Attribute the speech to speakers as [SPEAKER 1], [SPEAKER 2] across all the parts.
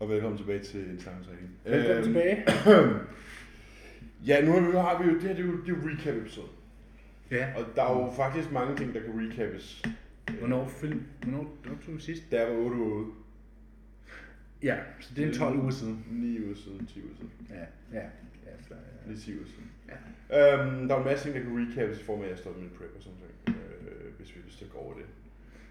[SPEAKER 1] Og velkommen tilbage til en samtale.
[SPEAKER 2] Velkommen tilbage.
[SPEAKER 1] Øhm, Ja, nu har vi- har vi jo, det her det er jo, det er jo recap episode.
[SPEAKER 2] Ja.
[SPEAKER 1] Og der er jo faktisk mange ting, der kan recappes.
[SPEAKER 2] Hvornår film? Hvornår optog vi sidst?
[SPEAKER 1] Der var 8 uger,
[SPEAKER 2] Ja, så det er en 12 uger siden.
[SPEAKER 1] 9 uger siden, 10 uger siden.
[SPEAKER 2] Øh, Ja, ja. ja, så, ja.
[SPEAKER 1] Lige 10 uger siden. Øhm, der er en masse ting, der kan recappes i form af, at jeg stopper min prep og sådan ting. Øh, hvis vi har lyst til at gå over det.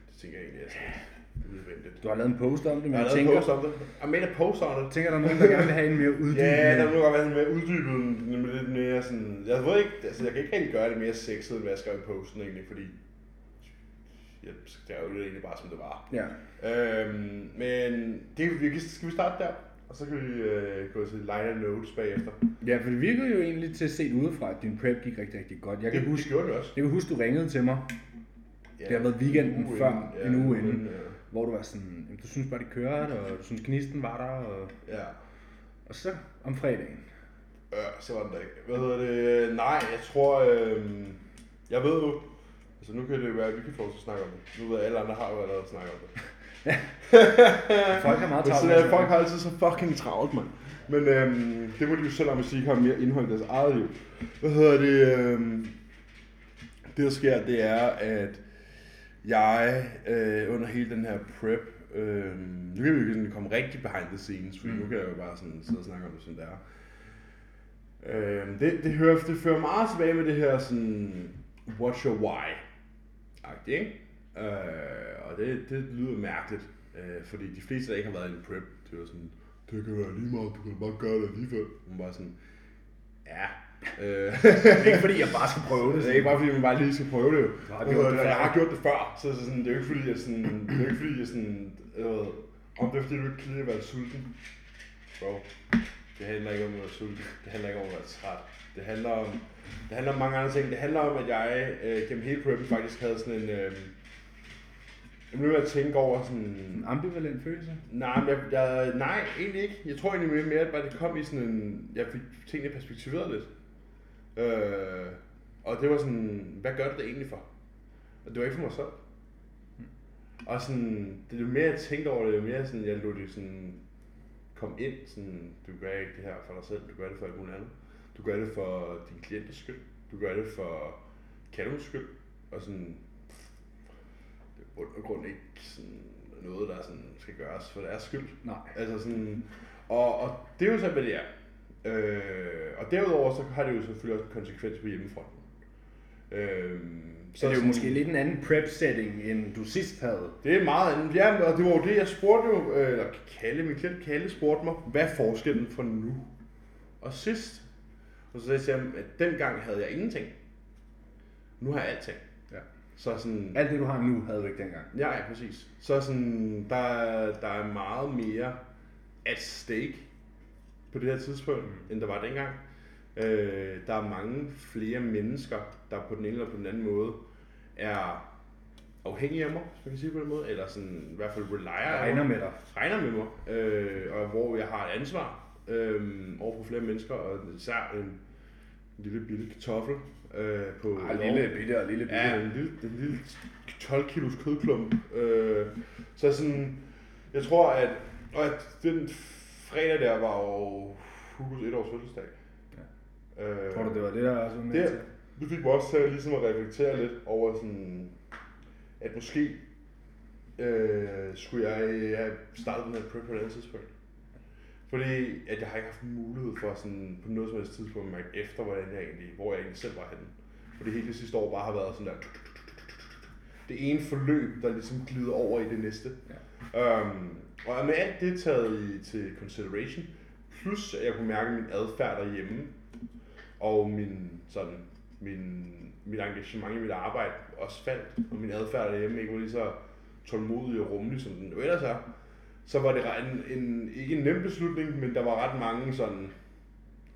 [SPEAKER 1] Det tænker jeg egentlig, at jeg skal udvendigt.
[SPEAKER 2] Du har lavet en post om det, men
[SPEAKER 1] Jeg
[SPEAKER 2] jeg,
[SPEAKER 1] har lavet
[SPEAKER 2] tænker,
[SPEAKER 1] en post om det. Jeg mener post om det.
[SPEAKER 2] tænker, der er nogen, der gerne vil have en mere uddybende.
[SPEAKER 1] Ja, der må godt være sådan mere uddybet, men lidt mere sådan... Jeg ved ikke, altså jeg kan ikke rigtig gøre det mere sexet, end hvad jeg skrev i posten egentlig, fordi... Jeg skrev det egentlig bare, som det var.
[SPEAKER 2] ja.
[SPEAKER 1] Øhm, men det, vi, skal vi starte der? Og så kan vi øh, gå til liner notes bagefter.
[SPEAKER 2] ja, for det virkede jo egentlig til set udefra, at din prep gik rigtig, rigtig godt. Jeg kan,
[SPEAKER 1] det,
[SPEAKER 2] huske,
[SPEAKER 1] det gjorde det også.
[SPEAKER 2] jeg kan huske, du ringede til mig,
[SPEAKER 1] Ja,
[SPEAKER 2] Det har været weekenden
[SPEAKER 1] en uge
[SPEAKER 2] før,
[SPEAKER 1] inden.
[SPEAKER 2] en uge inden.
[SPEAKER 1] Ja. øh,
[SPEAKER 2] hvor du var sådan, jamen, du synes bare, det kører, og du synes, gnisten var der, og,
[SPEAKER 1] ja.
[SPEAKER 2] og så om fredagen.
[SPEAKER 1] Øh, så var den der ikke. Hvad hedder det? Nej, jeg tror... Øh, jeg ved jo... Altså nu kan det jo være, at vi kan få os at snakke om det. Nu ved jeg, at alle andre har jo allerede snakket om det.
[SPEAKER 2] Folk har
[SPEAKER 1] Men
[SPEAKER 2] meget travlt. altså.
[SPEAKER 1] sådan
[SPEAKER 2] med
[SPEAKER 1] er det.
[SPEAKER 2] at snakke.
[SPEAKER 1] folk har altid så fucking travlt, mand. Men øhm, det må de jo selv om, hvis de ikke har mere indhold i deres eget liv. Hvad hedder det? Øhm, det, der sker, det er, at jeg øh, under hele den her prep, øh, nu kan vi jo ikke sådan komme rigtig behind the scenes, for mm. nu kan jeg jo bare sådan sidde og snakke om det, som det er. Øh, det, det, hører, det fører meget tilbage med det her sådan, what's your why? agtig, ikke? Øh, og det, det lyder mærkeligt, øh, fordi de fleste, der ikke har været i en prep, det var sådan, det kan være lige meget, du kan bare gøre det alligevel. Man var sådan, ja. Øh,
[SPEAKER 2] Det er ikke fordi, jeg bare skal prøve det.
[SPEAKER 1] det er ikke bare fordi, man bare lige skal prøve det jo.
[SPEAKER 2] har
[SPEAKER 1] Hvad
[SPEAKER 2] gjort
[SPEAKER 1] hedder
[SPEAKER 2] det
[SPEAKER 1] det,
[SPEAKER 2] før.
[SPEAKER 1] jeg har gjort det før, så, så sådan, det er jo ikke fordi, jeg sådan, det er jo ikke fordi, jeg sådan, jeg ved, om det er fordi, du ikke kan lide at være sulten. Bro, det handler ikke om at være sulten, det handler ikke om at være træt. Det handler om, det handler om mange andre ting. Det handler om, at jeg øh, gennem hele preppen faktisk havde sådan en, øh, jeg blev ved at tænke over sådan,
[SPEAKER 2] En ambivalent følelse.
[SPEAKER 1] Nej, men jeg, jeg, nej, egentlig ikke. Jeg tror egentlig mere- mere, at bare det kom i sådan en... Jeg fik tingene perspektiveret lidt. Øh, og det var sådan, hvad gør det det egentlig for? Og det var ikke for mig selv. Og sådan, det er jo mere jeg tænkte over det, jo mere sådan, jeg lod det sådan komme ind. Sådan, du gør ikke det her for dig selv, du gør det for alt muligt andet. Du gør det for din klienters skyld. Du gør det for kaldens skyld. Og sådan, det er i bund og grund ikke sådan noget, der sådan skal gøres for deres skyld.
[SPEAKER 2] Nej.
[SPEAKER 1] Altså sådan, og, og det er jo så, hvad det er. Øh, og derudover så har det jo selvfølgelig også en konsekvens på hjemmefronten. Øh,
[SPEAKER 2] Så det er
[SPEAKER 1] sådan-
[SPEAKER 2] jo måske lidt en anden prep-setting, end du sidst havde.
[SPEAKER 1] det er meget andet. Ja, og det var jo det, jeg spurgte jo, øh, eller Kalle, min klient Kalle spurgte mig, hvad er forskellen fra nu og sidst? Og så sagde jeg til ham, at dengang havde jeg ingenting. Nu har jeg alting.
[SPEAKER 2] Ja.
[SPEAKER 1] Så sådan,
[SPEAKER 2] Alt det, du har nu, havde du ikke dengang.
[SPEAKER 1] Ja, ja, præcis. Så sådan, der, er- der er meget mere at stake på det her tidspunkt, mm. end der var dengang. Øh, der er mange flere mennesker, der på den ene eller på den anden måde er afhængige af mig, hvis man kan sige på den måde, eller sådan, i hvert fald
[SPEAKER 2] Jeg
[SPEAKER 1] relier af
[SPEAKER 2] regner
[SPEAKER 1] mig,
[SPEAKER 2] med dig.
[SPEAKER 1] regner med mig, øh, og hvor jeg har et ansvar øh, over for flere mennesker, og især en lille bitte kartoffel øh, på
[SPEAKER 2] Ej, lille bitte og lille bitte.
[SPEAKER 1] Ja, en lille, en lille 12 kilos kødklump. Øh, så sådan, jeg tror, at, og at den fredag der var jo Hugos et års fødselsdag. Ja. Øh,
[SPEAKER 2] Tror du, det var det, der også var med
[SPEAKER 1] det,
[SPEAKER 2] til?
[SPEAKER 1] det fik mig også til at ligesom at reflektere lidt over sådan, at måske øh, skulle jeg øh, have startet den her prep på et andet tidspunkt. Fordi at jeg har ikke haft mulighed for sådan, på noget som helst tidspunkt at mærke efter, hvordan jeg egentlig, hvor jeg egentlig selv var henne. Fordi hele det sidste år bare har været sådan der... Det ene forløb, der ligesom glider over i det næste. Ja. Øhm, og med alt det taget i, til consideration, plus at jeg kunne mærke min adfærd derhjemme, og min, sådan, min, mit engagement i mit arbejde også faldt, og min adfærd derhjemme ikke var lige så tålmodig og rummelig, som den jo ellers er, så var det ret- en, en, ikke en nem beslutning, men der var ret mange sådan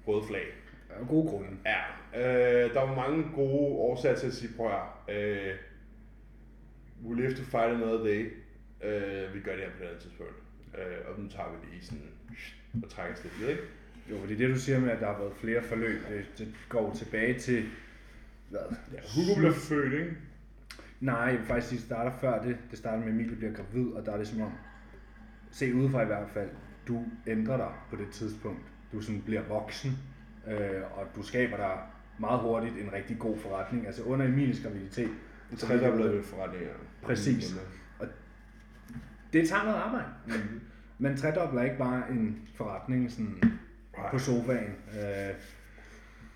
[SPEAKER 1] røde flag.
[SPEAKER 2] Der er gode grunde.
[SPEAKER 1] Ja, øh, der var mange gode årsager til at sige, prøv at høre, øh, we live to fight another day, øh, vi gør det her på et andet tidspunkt, øh, og nu tager vi lige sådan, og trækker os lidt videre, ikke?
[SPEAKER 2] Jo, fordi det, du siger med, at der har været flere forløb, det, det går jo tilbage til... Hvad?
[SPEAKER 1] Ja, Hugo blev født, ikke?
[SPEAKER 2] Nej, jeg vil faktisk sige, det starter før det. Det starter med, at Emilie bliver gravid, og der er det som om... Se udefra i hvert fald. du ændrer dig på det tidspunkt. Du sådan bliver voksen, øh, og du skaber dig meget hurtigt en rigtig god forretning. Altså under Emilies graviditet.
[SPEAKER 1] En
[SPEAKER 2] så fik jeg-
[SPEAKER 1] tredoblet ved forretninger. Mm,
[SPEAKER 2] Præcis. Det tager noget arbejde.
[SPEAKER 1] Mhm.
[SPEAKER 2] Man tredobler ikke bare en forretning sådan
[SPEAKER 1] Nej.
[SPEAKER 2] på sofaen. Øh,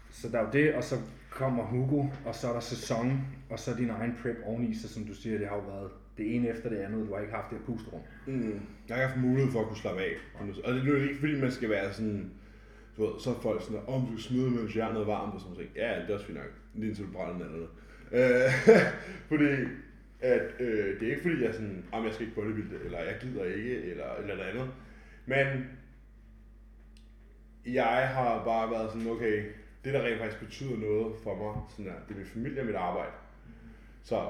[SPEAKER 2] så der er jo det, og så kommer Hugo, og så er der sæson, og så din egen prep oveni, så som du siger, det har jo været det ene efter det andet, du har ikke haft det her pusterum.
[SPEAKER 1] Mm. Jeg har ikke haft mulighed for at kunne slappe af. Og det er jo ikke fordi, man skal være sådan... Du ved, så er folk sådan, om du smider, mens jeg er noget varmt og sådan noget. Ja, det er også fint nok. Lige indtil du brænder den eller noget. Øh, fordi at, øh, det er ikke fordi, jeg er sådan, om jeg skal ikke bodybuilde, eller jeg gider ikke, eller et eller andet. Men jeg har bare været sådan, okay, det der rent faktisk betyder noget for mig, sådan her, det er min familie og mit arbejde. Så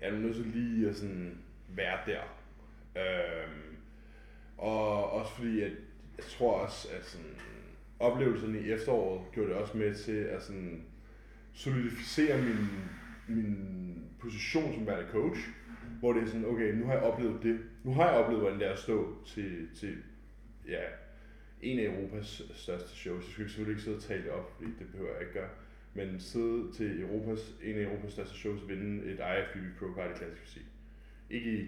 [SPEAKER 1] jeg er nødt til lige at sådan være der. Øhm, og også fordi, at jeg tror også, at sådan, oplevelserne i efteråret gjorde det også med til at sådan, solidificere min, min position som værende coach. Hvor det er sådan, okay, nu har jeg oplevet det. Nu har jeg oplevet, hvordan det er at stå til, til ja, en af Europas største shows. Jeg skal selvfølgelig ikke sidde og tale det op, fordi det behøver jeg ikke gøre. Men sidde til Europas, en af Europas største shows og vinde et IFBB Pro Card i klassisk fysik. Ikke i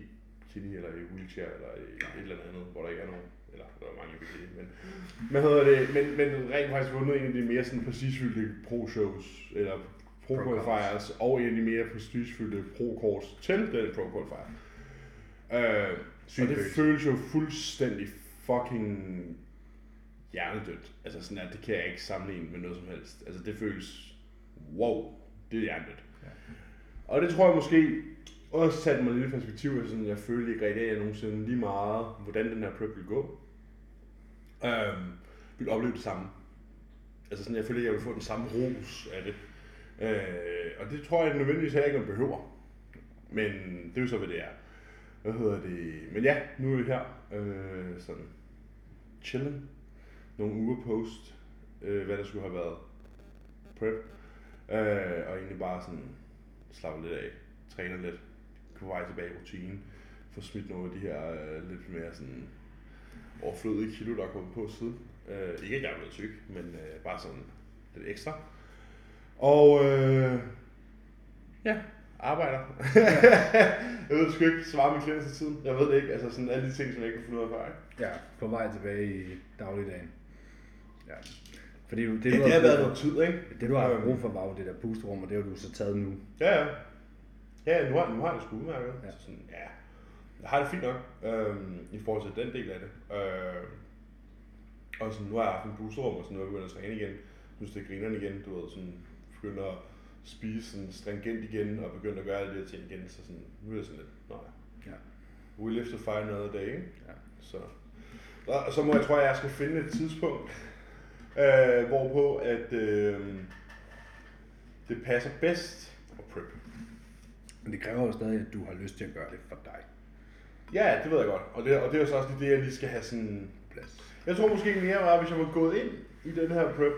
[SPEAKER 1] kidney eller i wheelchair eller i et eller andet, hvor der ikke er nogen. Eller der er mange i det, men, hvad hedder det, men, men rent faktisk vundet en af de mere sådan prestigefyldte pro-shows, eller pro-qualifiers, og en af de mere prestigefyldte pro-kors til den pro-qualifier. Øh, og
[SPEAKER 2] Sygt
[SPEAKER 1] det
[SPEAKER 2] løst.
[SPEAKER 1] føles jo fuldstændig fucking hjernedødt. Altså sådan at det kan jeg ikke sammenligne med noget som helst. Altså det føles, wow, det er hjernedødt.
[SPEAKER 2] Ja.
[SPEAKER 1] Ja. Og det tror jeg måske også satte mig lidt i perspektiv, at sådan, jeg følte ikke rigtig, at jeg nogensinde lige meget, hvordan den her prep ville gå. Øhm, ville opleve det samme. Altså sådan, jeg følte ikke, at jeg ville få den samme ros af det. Øh, og det tror jeg nødvendigvis heller ikke, man behøver. Men det er jo så, hvad det er. Hvad hedder det? Men ja, nu er vi her. Øh, sådan chillen. Nogle uger post, øh, hvad der skulle have været prep. Øh, og egentlig bare sådan slappe lidt af, træne lidt, på vej tilbage i rutinen, få smidt nogle af de her øh, lidt mere sådan overflødige kilo, der er kommet på siden. Øh, ikke at jeg er blevet syg, men øh, bare sådan lidt ekstra. Og øh, ja, arbejder. jeg ved sgu ikke, svare min klienter til tiden. Jeg ved det ikke, altså sådan alle de ting, som jeg ikke kan finde ud af før.
[SPEAKER 2] Ja, på vej tilbage i dagligdagen. Ja. Fordi det,
[SPEAKER 1] Det, ja, det har været noget tid, ikke?
[SPEAKER 2] det, du har haft
[SPEAKER 1] Øhm.
[SPEAKER 2] brug for, var jo det der pusterum, og det har du så taget nu.
[SPEAKER 1] Ja, ja. Ja, nu har, nu har jeg det sgu udmærket.
[SPEAKER 2] Ja.
[SPEAKER 1] Ja. Så sådan, ja. Jeg har det fint nok, øhm, i forhold til den del af det. Øhm, og sådan, nu har jeg haft en boosterrum, og sådan, nu er jeg begyndt at træne igen. Jeg synes, det er grineren igen, du ved, sådan, begynder at spise sådan stringent igen, og begynder at gøre alle de her ting igen, så sådan, nu er jeg sådan lidt, nej.
[SPEAKER 2] Ja.
[SPEAKER 1] We live to fight another day, ikke?
[SPEAKER 2] Ja.
[SPEAKER 1] Så, og så må jeg, tror jeg, jeg skal finde et tidspunkt, øh, hvorpå at øh, det passer bedst at prep.
[SPEAKER 2] Men det kræver jo stadig, at du har lyst til at gøre det for dig.
[SPEAKER 1] Ja, det ved jeg godt. Og det, og det er jo så også lige det, jeg lige skal have sådan...
[SPEAKER 2] Plads.
[SPEAKER 1] Jeg tror måske mere var, hvis jeg var gået ind i den her prep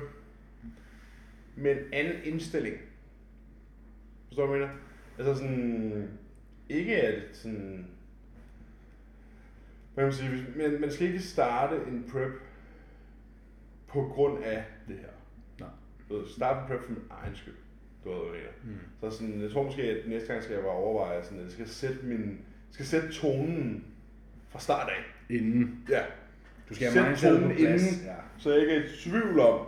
[SPEAKER 1] med en anden indstilling. Forstår du, hvad jeg mener? Altså sådan... Ikke at sådan... Hvad kan man sige? hvis- Men man skal ikke starte en prep på grund af det her.
[SPEAKER 2] Nej.
[SPEAKER 1] Du ved, starte en prep for min egen skyld. Du ved, hvad jeg mener.
[SPEAKER 2] Mm.
[SPEAKER 1] Så sådan, jeg tror måske, at næste gang skal jeg bare overveje, sådan, at jeg skal sætte, min, skal sætte tonen fra start af.
[SPEAKER 2] Inden.
[SPEAKER 1] Ja.
[SPEAKER 2] Du skal
[SPEAKER 1] Sæt
[SPEAKER 2] have mindsetet
[SPEAKER 1] tonen
[SPEAKER 2] på plads.
[SPEAKER 1] inden.
[SPEAKER 2] Ja.
[SPEAKER 1] Så jeg ikke er i tvivl om,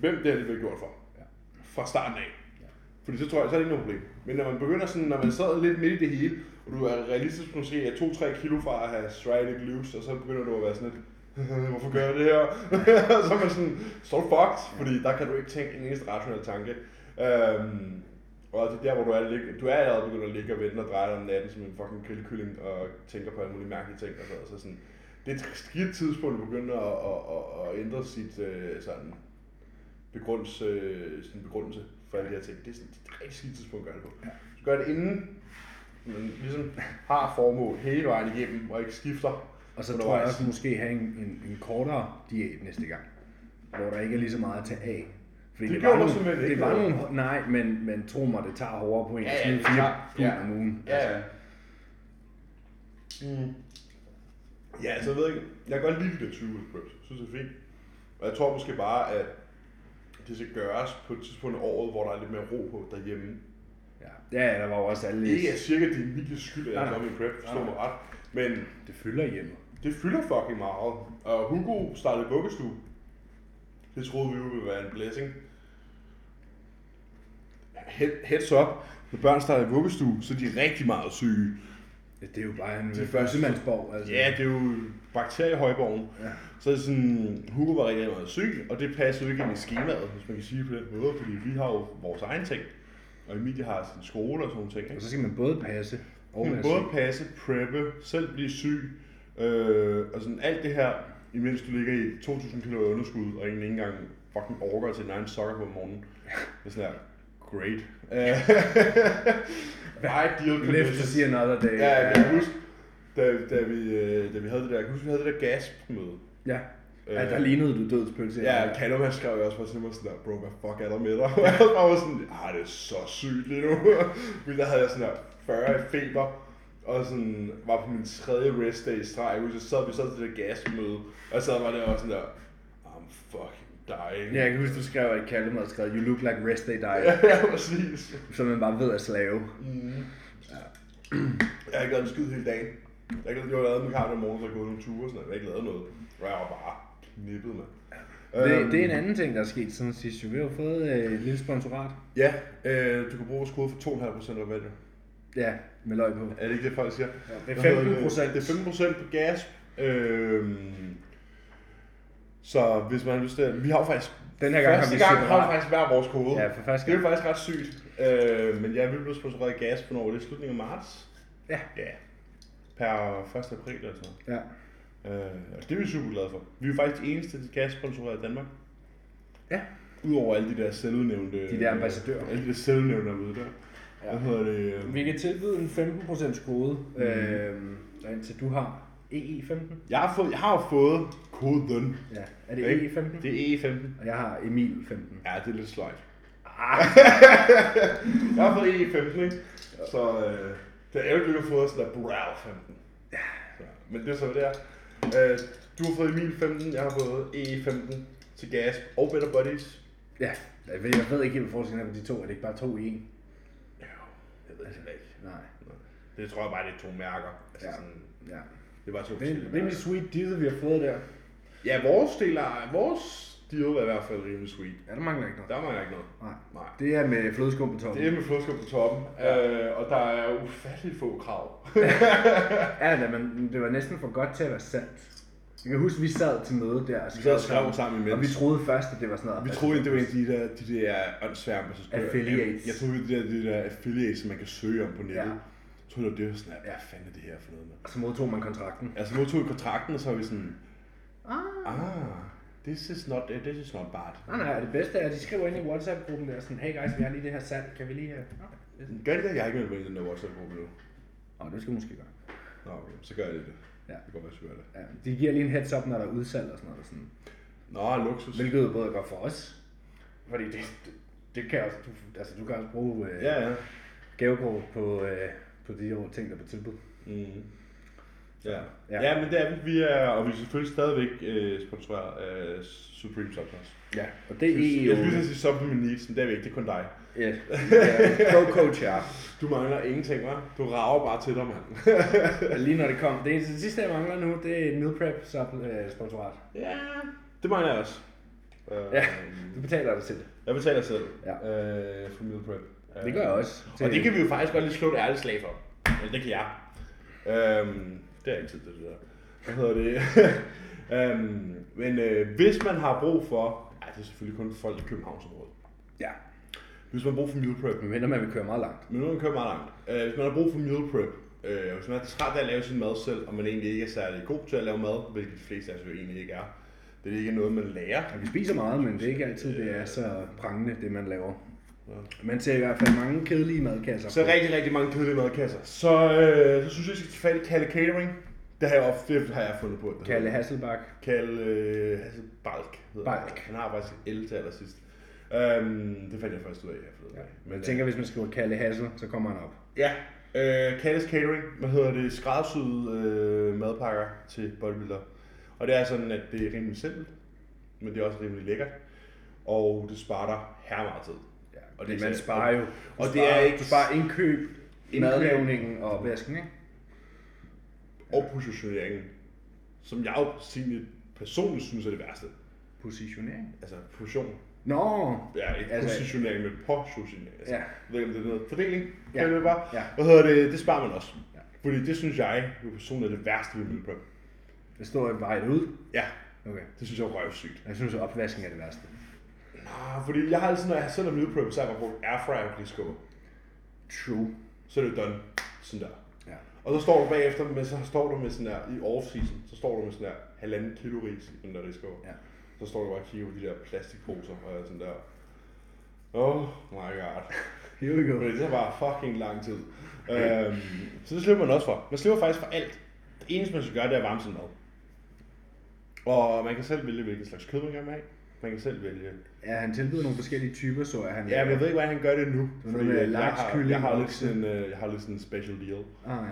[SPEAKER 1] hvem det her det bliver gjort for.
[SPEAKER 2] Ja.
[SPEAKER 1] Fra starten af.
[SPEAKER 2] Ja.
[SPEAKER 1] Fordi så tror jeg, så er det ikke noget problem. Men når man begynder sådan, når man sad lidt midt i det hele, og du er realistisk måske er 2-3 kilo fra at have striated glutes, og så begynder du at være sådan lidt, hvorfor gør jeg det her? og så er man sådan, så er du fucked, fordi der kan du ikke tænke en eneste rationel tanke. Øhm, og det er der, hvor du er, lig- du er allerede begyndt at ligge og vente og dreje dig om natten som en fucking grillkylling, og tænker på alle mulige mærkelige ting og sådan noget. Så sådan, det er et skidt tidspunkt at begynde at, at, at, at ændre sit øh, sådan, begrunds, øh, sin begrundelse for alle de her ting. Det er sådan det er et rigtig skidt tidspunkt at gøre det på. Du gør det inden, man ligesom har formål hele vejen igennem, og ikke skifter.
[SPEAKER 2] Og så tror jeg
[SPEAKER 1] undervejs.
[SPEAKER 2] også måske have en, en, en kortere diæt næste gang, hvor der ikke er lige så meget at tage af. Fordi
[SPEAKER 1] Det
[SPEAKER 2] det, det, var
[SPEAKER 1] gjorde der
[SPEAKER 2] nogle,
[SPEAKER 1] simpelthen
[SPEAKER 2] det,
[SPEAKER 1] ikke
[SPEAKER 2] var
[SPEAKER 1] noget.
[SPEAKER 2] nogle, hår- nej, men, men tro mig, det tager hårdere på en
[SPEAKER 1] Ja, ja,
[SPEAKER 2] ja, ja,
[SPEAKER 1] det
[SPEAKER 2] fire
[SPEAKER 1] tager-
[SPEAKER 2] Altså, pund
[SPEAKER 1] ja.
[SPEAKER 2] om ugen.
[SPEAKER 1] Ja, ja. Mm. Ja, altså jeg ved ikke, jeg kan godt lide de der 20 ugers preps. Jeg synes, det er fint. Og jeg tror måske bare, at det skal gøres på et tidspunkt af året, hvor der er lidt mere ro på derhjemme.
[SPEAKER 2] Ja, ja der var jo også alle...
[SPEAKER 1] Ikke er cirka det er Emilies skyld, at jeg
[SPEAKER 2] Nej,
[SPEAKER 1] er
[SPEAKER 2] nej.
[SPEAKER 1] kommet i prep, forstå
[SPEAKER 2] Nej,
[SPEAKER 1] mig ret. Men
[SPEAKER 2] Det fylder hjemme.
[SPEAKER 1] det fylder fucking meget. Og Hugo startede vuggestue. Det troede vi jo ville være en blessing. He- Heads up, når børn starter i vuggestue, så er de rigtig meget syge.
[SPEAKER 2] Ja, det er jo bare en
[SPEAKER 1] De
[SPEAKER 2] øh,
[SPEAKER 1] første-
[SPEAKER 2] førstemandsborg. Altså.
[SPEAKER 1] Ja, det er jo bakteriehøjborgen.
[SPEAKER 2] Ja.
[SPEAKER 1] Så er det sådan, Hugo var rigtig meget syg, og det passede jo ikke ind i skemaet, hvis man kan sige det på den måde, fordi vi har jo vores egen ting. Og Emilie har sin skole og sådan nogle ting.
[SPEAKER 2] Og
[SPEAKER 1] Ikke?
[SPEAKER 2] så skal man både passe og
[SPEAKER 1] Hun
[SPEAKER 2] være
[SPEAKER 1] kan både
[SPEAKER 2] Altså,
[SPEAKER 1] passe,
[SPEAKER 2] syg.
[SPEAKER 1] preppe, selv blive syg, øh, og sådan alt det her, imens du ligger i 2.000 kilo underskud, og egentlig ikke engang fucking orker til din egen sokker på om morgenen. Det er sådan her, great. Øh, Ideal
[SPEAKER 2] Left to
[SPEAKER 1] conditions.
[SPEAKER 2] see another day.
[SPEAKER 1] Ja, jeg kan huske, da, da, vi, øh, da vi havde det der, jeg kan huske, vi havde det der gasmøde.
[SPEAKER 2] ja. ja der lignede du dødspølse.
[SPEAKER 1] Øh. Ja, Callum han skrev jo også bare til mig sådan der, bro, hvad fuck er der med dig? Og jeg var bare sådan, ah, det er så sygt lige nu. Men der havde jeg sådan der 40 i feber, og sådan var på min tredje rest day i streg, og så sad vi så til det der gasmøde, og så var der også sådan der, I'm fucking dying.
[SPEAKER 2] Ja, jeg kan huske, du skrev, at Callum havde skrevet, You look like rest day die.
[SPEAKER 1] ja, ja, præcis.
[SPEAKER 2] Som man bare ved at slave.
[SPEAKER 1] Mm. Jeg har ikke lavet en skid hele dagen. Jeg har ikke lavet, jeg har lavet med karten om morgenen, så jeg har gået nogle ture og sådan noget. Jeg har ikke lavet noget. Og jeg var bare knippet, mand.
[SPEAKER 2] Det,
[SPEAKER 1] Øhm,
[SPEAKER 2] det, er en anden ting, der er sket siden sidst. jo. Vi har jo fået øh, et lille sponsorat.
[SPEAKER 1] Ja, øh, du kan bruge vores kode for 2,5% rabat, jo.
[SPEAKER 2] Ja, med løg på.
[SPEAKER 1] Er det ikke det, folk siger?
[SPEAKER 2] Det er
[SPEAKER 1] Hvad hedder
[SPEAKER 2] 15 procent.
[SPEAKER 1] Det er 15 procent på gas. Øhm, så hvis man har lyst til at... Vi har jo faktisk...
[SPEAKER 2] Den her gang har
[SPEAKER 1] første
[SPEAKER 2] vi
[SPEAKER 1] gang har vi
[SPEAKER 2] separat.
[SPEAKER 1] faktisk hver vores kode.
[SPEAKER 2] Ja, for første
[SPEAKER 1] Det er
[SPEAKER 2] gang.
[SPEAKER 1] faktisk ret sygt. Øh, men ja, vi blev sponsoreret af gas for Norge. Det er slutningen af marts.
[SPEAKER 2] Ja.
[SPEAKER 1] Ja. Per 1. april eller sådan
[SPEAKER 2] Ja.
[SPEAKER 1] noget. Øh, og det er vi super glade for. Vi er faktisk de eneste gassponsorer i Danmark.
[SPEAKER 2] Ja.
[SPEAKER 1] Udover alle de der selvudnævnte...
[SPEAKER 2] De der ambassadører.
[SPEAKER 1] Alle de der selvudnævnte der er ude der. Ja. Hvad hedder det? øh,
[SPEAKER 2] Vi kan tilbyde en 15% kode,
[SPEAKER 1] øhm,
[SPEAKER 2] øh, indtil du har
[SPEAKER 1] E
[SPEAKER 2] EE15.
[SPEAKER 1] Jeg har, fået, jeg har jo fået koden.
[SPEAKER 2] Ja, er det
[SPEAKER 1] Ikke?
[SPEAKER 2] EE15?
[SPEAKER 1] Det er E15.
[SPEAKER 2] Og jeg har Emil 15.
[SPEAKER 1] Ja, det er lidt sløjt.
[SPEAKER 2] Ah,
[SPEAKER 1] Jeg har fået E15, ikke? Så øh, det er ærgerligt, du ikke har fået sådan der Brow 15. Ja. Men det er så, hvad det er. Øh, du har fået Emil 15, jeg har fået E15 til gas og Better Buddies.
[SPEAKER 2] ja, jeg ved, jeg ved ikke helt, hvad forskellen er på de to. Er det ikke bare to i en?
[SPEAKER 1] Ja, jeg ved det heller ikke.
[SPEAKER 2] Nej.
[SPEAKER 1] Det tror jeg bare, det er to mærker. Altså,
[SPEAKER 2] Ja.
[SPEAKER 1] sådan,
[SPEAKER 2] Ja.
[SPEAKER 1] det er bare to
[SPEAKER 2] Det er en
[SPEAKER 1] forskellige mærker.
[SPEAKER 2] rimelig sweet deal, vi har fået der.
[SPEAKER 1] Ja, vores del er, vores deal er i hvert fald rimelig sweet.
[SPEAKER 2] Ja, der mangler ikke noget.
[SPEAKER 1] Der mangler ikke noget.
[SPEAKER 2] Nej.
[SPEAKER 1] Nej.
[SPEAKER 2] Det er med flødeskum på
[SPEAKER 1] Det er
[SPEAKER 2] toppen.
[SPEAKER 1] med flodskab på toppen,
[SPEAKER 2] Ja.
[SPEAKER 1] øh, og der er ufattelig få krav.
[SPEAKER 2] Ja, da, men det var næsten for godt til at være sandt. Jeg kan huske, vi sad til møde der og
[SPEAKER 1] Vi sad og skrev sammen imens.
[SPEAKER 2] Og vi troede først, at det var sådan noget.
[SPEAKER 1] Vi troede, at det var en af de der, de der åndssværme, så skulle Jeg,
[SPEAKER 2] Affiliates.
[SPEAKER 1] jeg troede, det der, de der affiliates, som man kan søge om på nettet.
[SPEAKER 2] Ja.
[SPEAKER 1] Ja. Jeg troede, det var det, jeg var sådan, her,
[SPEAKER 2] Ja.
[SPEAKER 1] hvad fanden er det her for noget, mand?
[SPEAKER 2] Og så modtog man kontrakten.
[SPEAKER 1] Altså, modtog vi kontrakten, og så var vi sådan,
[SPEAKER 2] Ah.
[SPEAKER 1] ah, this is not, uh, this is not bad.
[SPEAKER 2] Nej, nej, det bedste er, at de skriver ind i WhatsApp-gruppen der, sådan, hey guys, vi har lige det her salg, kan vi lige øh, have? Okay.
[SPEAKER 1] Gør det det? Jeg har ikke meldt mig ind i den der WhatsApp-gruppe nu.
[SPEAKER 2] Åh, det skal du måske gøre.
[SPEAKER 1] Nå, okay, så gør jeg lige det.
[SPEAKER 2] Ja.
[SPEAKER 1] Det kan godt være, jeg skal gøre det.
[SPEAKER 2] Ja, de giver lige en heads up, når der er udsalg og sådan noget. Sådan.
[SPEAKER 1] Nå, luksus.
[SPEAKER 2] Hvilket jo både er godt for os, fordi det, det, det kan også, du, altså, du kan også bruge øh,
[SPEAKER 1] Ja, ja.
[SPEAKER 2] gavekort på, øh, på de her ting, der er på tilbud.
[SPEAKER 1] Mm. Ja.
[SPEAKER 2] Ja.
[SPEAKER 1] ja. ja, men det er vi. vi er, og vi er selvfølgelig stadigvæk øh, sponsoreret af Supreme Substance.
[SPEAKER 2] Ja, og det er E jo...
[SPEAKER 1] Jeg skulle til at sige Supplement Needs, men det er vi ikke, det er kun dig.
[SPEAKER 2] Ja, co-coach jeg.
[SPEAKER 1] Du mangler ingenting, hva'? Du rager bare til dig, mand.
[SPEAKER 2] Lige når det kom. Det eneste det sidste, jeg mangler nu, det er meal prep supp- øh, sponsorat.
[SPEAKER 1] ja, det mangler jeg også. Øh,
[SPEAKER 2] Ja, du betaler dig selv.
[SPEAKER 1] Jeg betaler selv
[SPEAKER 2] Ja.
[SPEAKER 1] øh, for meal prep. Øh,
[SPEAKER 2] Det gør jeg også.
[SPEAKER 1] Og det kan vi jo faktisk godt lige slå et ærligt slag for. Eller det kan jeg. Øhm, det er altid det det der. Hvad hedder det? øhm, men øh, hvis man har brug for... Ej, det er selvfølgelig kun folk i Københavnsområdet.
[SPEAKER 2] Ja,
[SPEAKER 1] Hvis man har brug for meal prep,
[SPEAKER 2] men man vil køre meget langt.
[SPEAKER 1] Men nu har man kørt meget langt. Øh, hvis man har brug for meal prep, øh, hvis man er træt af at lave sin mad selv, og man egentlig ikke er særlig god til at lave mad, hvilket de fleste af os jo egentlig ikke er, det er ikke noget, man lærer.
[SPEAKER 2] Ja, vi spiser meget, men det er ikke altid, det er så prangende, det man laver. Man ser i hvert fald mange kedelige madkasser.
[SPEAKER 1] Så rigtig, rigtig mange kedelige madkasser. Så, øh, så synes jeg, at jeg skal tage fat i Kalle Catering. Det har jeg, ofte, det har jeg fundet på. Det
[SPEAKER 2] Kalle
[SPEAKER 1] hedder.
[SPEAKER 2] Hasselbak.
[SPEAKER 1] Kalle øh, altså Balk hedder han.
[SPEAKER 2] Balk.
[SPEAKER 1] Han har faktisk L til allersidst. Øhm, det fandt jeg først ud af, jeg forleden.
[SPEAKER 2] Ja.
[SPEAKER 1] dag.
[SPEAKER 2] Men jeg tænker, hvis man skriver Kalle Hassel, så kommer han op.
[SPEAKER 1] Ja, Øh, Canis Catering, hvad hedder det, skræddersyede øh, madpakker til bodybuilder. Og det er sådan, at det er rimelig simpelt, men det er også rimelig lækkert. Og det sparer dig her meget tid.
[SPEAKER 2] Ja,
[SPEAKER 1] og
[SPEAKER 2] og
[SPEAKER 1] det
[SPEAKER 2] det
[SPEAKER 1] er
[SPEAKER 2] man
[SPEAKER 1] sådan-
[SPEAKER 2] sparer jo. Du
[SPEAKER 1] og det
[SPEAKER 2] sparer,
[SPEAKER 1] er ikke-
[SPEAKER 2] Du sparer indkøb,
[SPEAKER 1] Indkøb.
[SPEAKER 2] madlavningen og opvasken, ikke?
[SPEAKER 1] Og positioneringen, som jeg jo personligt, personligt synes er det værste.
[SPEAKER 2] Positionering.
[SPEAKER 1] Altså position.
[SPEAKER 2] Nå,
[SPEAKER 1] Ja, ikke
[SPEAKER 2] Altså-
[SPEAKER 1] positionering, men positionering. Altså,
[SPEAKER 2] Ja.
[SPEAKER 1] Jeg ved ikke, om det er noget fordeling,
[SPEAKER 2] Ja.
[SPEAKER 1] ja. det bare.
[SPEAKER 2] Ja.
[SPEAKER 1] Hvad hedder det, det sparer man også.
[SPEAKER 2] Ja.
[SPEAKER 1] Fordi det synes jeg jo personligt er det værste ved meal prep.
[SPEAKER 2] det står jo vejet ud.
[SPEAKER 1] Ja,
[SPEAKER 2] Okay.
[SPEAKER 1] det synes jeg er røvsygt.
[SPEAKER 2] Jeg synes, at opvasken er det værste.
[SPEAKER 1] Ah, fordi jeg har altid, når jeg selv er meal prep, så har jeg bare brugt airfryer, fordi skubber.
[SPEAKER 2] True.
[SPEAKER 1] Så er det jo done. Sådan der.
[SPEAKER 2] Ja.
[SPEAKER 1] Og så står du bagefter, med, så står du med sådan der, i off-season, så står du med sådan der halvanden kilo ris i den der riskåre.
[SPEAKER 2] Ja.
[SPEAKER 1] Så står du bare og kigger på de der plastikposer, og jeg er sådan der, oh my god.
[SPEAKER 2] Here we go.
[SPEAKER 1] Fordi det tager bare fucking lang tid. Øhm, så det slipper man også for. Man slipper faktisk for alt. Det eneste, man skal gøre, det er at varme sin mad. Og man kan selv vælge, hvilken slags kød man gerne vil have. Man kan selv vælge.
[SPEAKER 2] Ja, han tilbyder nogle forskellige typer, så er han...
[SPEAKER 1] Ja, men jeg ved ikke, hvordan han gør det nu.
[SPEAKER 2] noget med
[SPEAKER 1] øh, jeg,
[SPEAKER 2] laks,
[SPEAKER 1] har, jeg,
[SPEAKER 2] kylling,
[SPEAKER 1] har lidt
[SPEAKER 2] okse.
[SPEAKER 1] sådan, en, øh, jeg har lidt sådan en special deal.
[SPEAKER 2] Ah,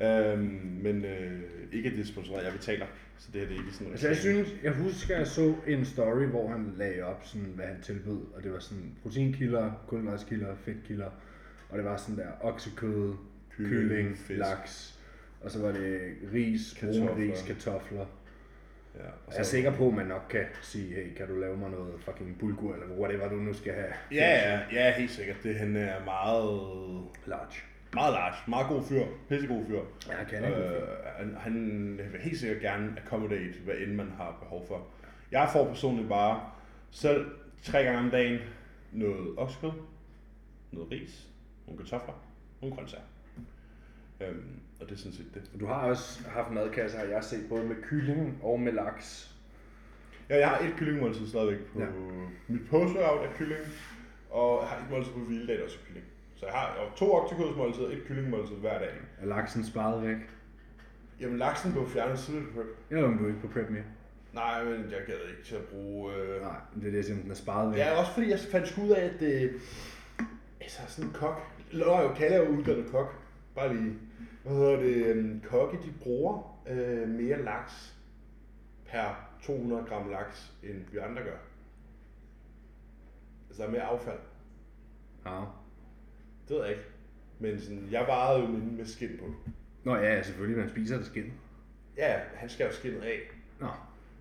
[SPEAKER 2] ja.
[SPEAKER 1] Øhm, men øh, ikke at det er sponsoreret, jeg betaler. Så det her det er ikke sådan
[SPEAKER 2] Altså, jeg synes, jeg husker, jeg så en story, hvor han lagde op, sådan, hvad han tilbød, og det var sådan proteinkilder, kulhydratkilder, fedtkilder, og det var sådan der oksekød,
[SPEAKER 1] Kylling,
[SPEAKER 2] kylling, kylling
[SPEAKER 1] fisk.
[SPEAKER 2] laks, og så var det ris, brun
[SPEAKER 1] Kartofler.
[SPEAKER 2] ris, kartofler.
[SPEAKER 1] Ja, og
[SPEAKER 2] Og jeg er sikker på, at man nok kan sige, hey, kan du lave mig noget fucking bulgur, eller whatever du nu skal have.
[SPEAKER 1] Ja, ja, ja, helt sikkert. Det, han er meget,
[SPEAKER 2] Large.
[SPEAKER 1] meget large, meget god fyr, pissegod fyr.
[SPEAKER 2] Ja, kan jeg øh.
[SPEAKER 1] Øh, han, han vil helt sikkert gerne accommodate, hvad end man har behov for. Jeg får personligt bare selv tre gange om dagen noget oksekød, noget ris, nogle kartofler, nogle grøntsager. Øhm, og det er sådan set det.
[SPEAKER 2] Du har også haft madkasser, har jeg set, både med kylling og med laks.
[SPEAKER 1] Ja, jeg har et kyllingmåltid stadigvæk på ja.
[SPEAKER 2] Ja.
[SPEAKER 1] mit post-workout er kylling, og jeg har et måltid på hviledag, der også er kylling. Så jeg har jo to oktekødsmåltider, et kyllingmåltid hver dag.
[SPEAKER 2] Er laksen sparet væk?
[SPEAKER 1] Jamen, laksen blev fjernet tidligt på prep.
[SPEAKER 2] Jeg ved, om du er ikke på prep mere.
[SPEAKER 1] Nej, men jeg gad ikke til at bruge... Øh...
[SPEAKER 2] Nej, men det er det, jeg siger, den er sparet væk.
[SPEAKER 1] Ja, også fordi jeg fandt sgu ud af, at det... Altså, sådan en kok... Nå, jo, Kalle er jo uddannet kok. Bare lige... Hvad hedder det? øhm, Kokke, de bruger øh, mere laks per 200 gram laks, end vi andre gør. Altså, der er mere affald.
[SPEAKER 2] Ja.
[SPEAKER 1] Det ved jeg ikke. Men sådan, jeg varede jo min med skin på.
[SPEAKER 2] Nå ja, ja, selvfølgelig, man spiser det skin.
[SPEAKER 1] Ja, han skal jo skinnet af.
[SPEAKER 2] Nå,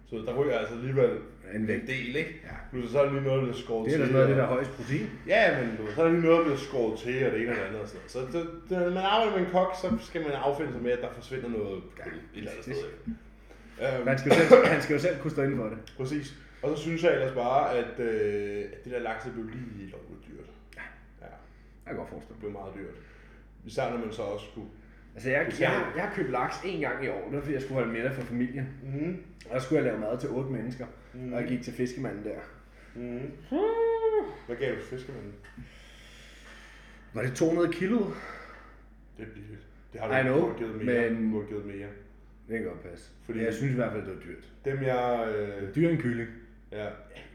[SPEAKER 1] Så der ryger altså alligevel en
[SPEAKER 2] En vægt.
[SPEAKER 1] del, ikke?
[SPEAKER 2] Ja.
[SPEAKER 1] Plus så er der lige noget, der bliver skåret
[SPEAKER 2] det er da
[SPEAKER 1] til,
[SPEAKER 2] noget af det,
[SPEAKER 1] og-
[SPEAKER 2] der er højst protein.
[SPEAKER 1] Ja, men du, ved, så er der lige noget, der bliver skåret til, og det ene og det andet og sådan noget. Så det, det, når man arbejder med en kok, så skal man affinde sig med, at der forsvinder noget kød et eller andet sted. ikke?
[SPEAKER 2] Han
[SPEAKER 1] Øhm,
[SPEAKER 2] skal, jo selv, han skal jo selv kunne stå inden for det.
[SPEAKER 1] præcis. Og så synes jeg ellers bare, at, øh, at det der laks, det blev lige lovligt dyrt. Ja,
[SPEAKER 2] Jeg kan godt forestille
[SPEAKER 1] det
[SPEAKER 2] mig.
[SPEAKER 1] blev meget dyrt. Især når man så også skulle...
[SPEAKER 2] Altså, jeg, jeg, har- jeg har købt laks en gang i år, det var fordi, jeg skulle holde middag for familien.
[SPEAKER 1] Mm,
[SPEAKER 2] Og der skulle jeg lave mad til otte mennesker, og jeg gik til fiskemanden der.
[SPEAKER 1] mm. Hvad gav du fiskemanden?
[SPEAKER 2] Var det 200 kilo?
[SPEAKER 1] Det er billigt. Det har du
[SPEAKER 2] I know,
[SPEAKER 1] du har givet mere.
[SPEAKER 2] men-
[SPEAKER 1] Du har givet mere.
[SPEAKER 2] Det kan godt passe.
[SPEAKER 1] Fordi-
[SPEAKER 2] Fordi jeg synes i hvert fald, det var dyrt.
[SPEAKER 1] Dem jeg... Øh,
[SPEAKER 2] Dyrere end kylling.
[SPEAKER 1] ja.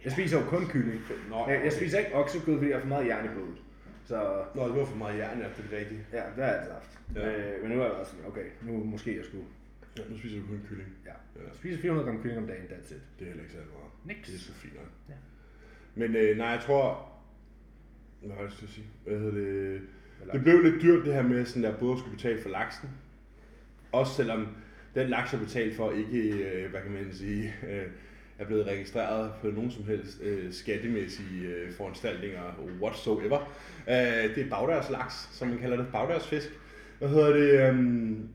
[SPEAKER 2] Jeg spiser jo kun kylling.
[SPEAKER 1] Nå,
[SPEAKER 2] Jeg, jeg spiser ikke oksekød, fordi jeg har for meget jern i blodet. Så
[SPEAKER 1] Nå, det var for meget hjerne, at det er rigtigt.
[SPEAKER 2] Ja, det har jeg altid haft.
[SPEAKER 1] Ja.
[SPEAKER 2] Ja. Øh, men nu er jeg bare sådan, okay, nu måske jeg skulle.
[SPEAKER 1] Ja, nu spiser du kun kylling.
[SPEAKER 2] Ja.
[SPEAKER 1] Ja.
[SPEAKER 2] Jeg spiser 400 gram kylling om dagen, that's it.
[SPEAKER 1] Det er heller ikke særlig meget.
[SPEAKER 2] Niks.
[SPEAKER 1] Det er så fint nok.
[SPEAKER 2] Ja.
[SPEAKER 1] Men øh, nej, jeg tror... Hvad har jeg lyst til at sige? Hvad hedder det?
[SPEAKER 2] Eller-
[SPEAKER 1] Det blev lidt dyrt det her med, sådan der både at skulle betale for laksen. Også selvom den laks, jeg betalte for, ikke, øh, hvad kan man sige, øh, er blevet registreret på nogen som helst øh, skattemæssige øh, foranstaltninger whatsoever. Øh, det er bagdørslaks, som man kalder det. Bagdørsfisk. Hvad hedder det? øhm,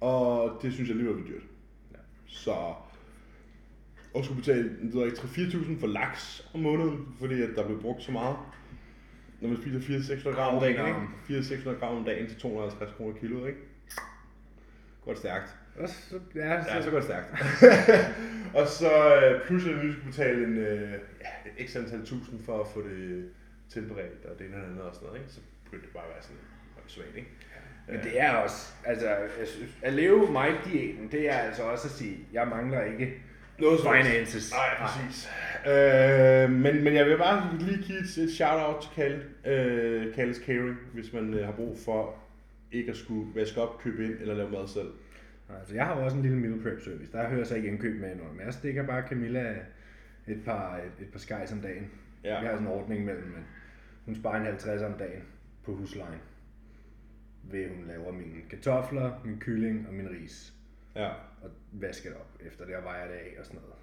[SPEAKER 1] og det synes jeg alligevel var dyrt.
[SPEAKER 2] Ja.
[SPEAKER 1] Så og skulle betale 3-4.000 for laks om måneden, fordi at der blev brugt så meget. Når man spiser 400-600 gram om dagen,
[SPEAKER 2] Gram.
[SPEAKER 1] ikke? 400-600 gram om dagen til 250 kroner kilo, ikke? Godt stærkt.
[SPEAKER 2] Og så, ja, så,
[SPEAKER 1] Ja,
[SPEAKER 2] ja,
[SPEAKER 1] så
[SPEAKER 2] så,
[SPEAKER 1] går det stærkt. og så øh, pludselig at vi skulle betale en, øh, ja, x antal tusind for at få det tilberedt, og det ene og det andet og sådan noget, ikke? Så begyndte det bare at være sådan lidt svært, ikke?
[SPEAKER 2] men det er også, altså, jeg synes, at leve mig diæten, det er altså også at sige, jeg mangler ikke
[SPEAKER 1] Noget som helst.
[SPEAKER 2] finances.
[SPEAKER 1] Nej, præcis. Øh, men, men jeg vil bare lige give et, et shout-out til Kalle, øh, Kalles Catering, hvis man øh, har brug for ikke at skulle vaske op, købe ind eller lave mad selv.
[SPEAKER 2] Altså, jeg har jo også en lille meal prep service. Der hører jeg så ikke indkøb med noget. Men jeg stikker bare Camilla et par, et, et par skejs om dagen. Ja. Vi har
[SPEAKER 1] Ja,
[SPEAKER 2] sådan en ordning mellem, at hun sparer en 50 om dagen på huslejen. Ved at hun laver mine kartofler, min kylling og min ris.
[SPEAKER 1] ja.
[SPEAKER 2] Og vasker det op, efter det og vejer det af og sådan noget.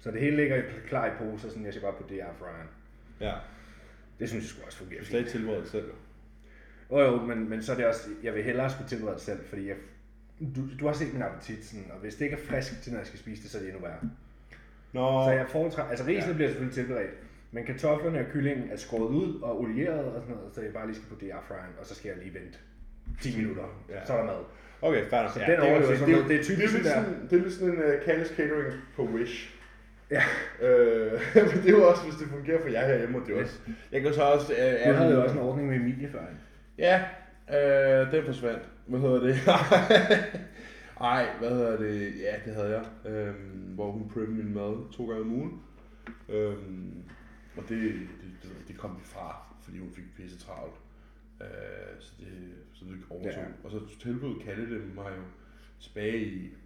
[SPEAKER 2] Så det hele ligger i- klar i poser, sådan jeg skal bare putte det i airfryeren.
[SPEAKER 1] ja.
[SPEAKER 2] Det synes jeg sgu også fungerer
[SPEAKER 1] Du skal
[SPEAKER 2] fint.
[SPEAKER 1] slet ikke tilberede det selv. jo.
[SPEAKER 2] Jo, jo, men, men så er det også, jeg vil hellere skulle tilberede det selv, fordi jeg, du, du har set min appetit, sådan, og hvis det ikke er frisk til, når jeg skal spise det, så er det endnu værre.
[SPEAKER 1] Nå,
[SPEAKER 2] Så jeg foretrækker, altså risene ja. bliver selvfølgelig tilberedt, men kartoflerne og kyllingen er skåret ud og olieret og sådan noget, så jeg bare lige skal på det i airfryeren, og så skal jeg lige vente 10 minutter,
[SPEAKER 1] Ja.
[SPEAKER 2] ja. så er der mad.
[SPEAKER 1] okay, fair nok.
[SPEAKER 2] den
[SPEAKER 1] det er
[SPEAKER 2] overlever
[SPEAKER 1] også-
[SPEAKER 2] sådan noget. Det er
[SPEAKER 1] det er
[SPEAKER 2] typisk
[SPEAKER 1] lidt
[SPEAKER 2] sådan der.
[SPEAKER 1] sådan, det er lidt sådan en uh, Kalles Catering på Wish.
[SPEAKER 2] Ja.
[SPEAKER 1] Øh, men det er jo også, hvis det fungerer for jer herhjemme, og det er også... Jeg kan jo så også... Uh,
[SPEAKER 2] Du havde jo også en ordning med Emilie før. ikke?
[SPEAKER 1] Ja, øh, den forsvandt. Hvad hedder det? Ej, hvad hedder det? Ja, det havde jeg. Øhm, hvor hun prøvede min mad to gange om ugen. Øhm, og det, det, det, det kom vi fra, fordi hun fik pisse travlt. Øh, så det, så det overtog.
[SPEAKER 2] Ja.
[SPEAKER 1] Ja. Og så tilbød Kalle det mig jo tilbage i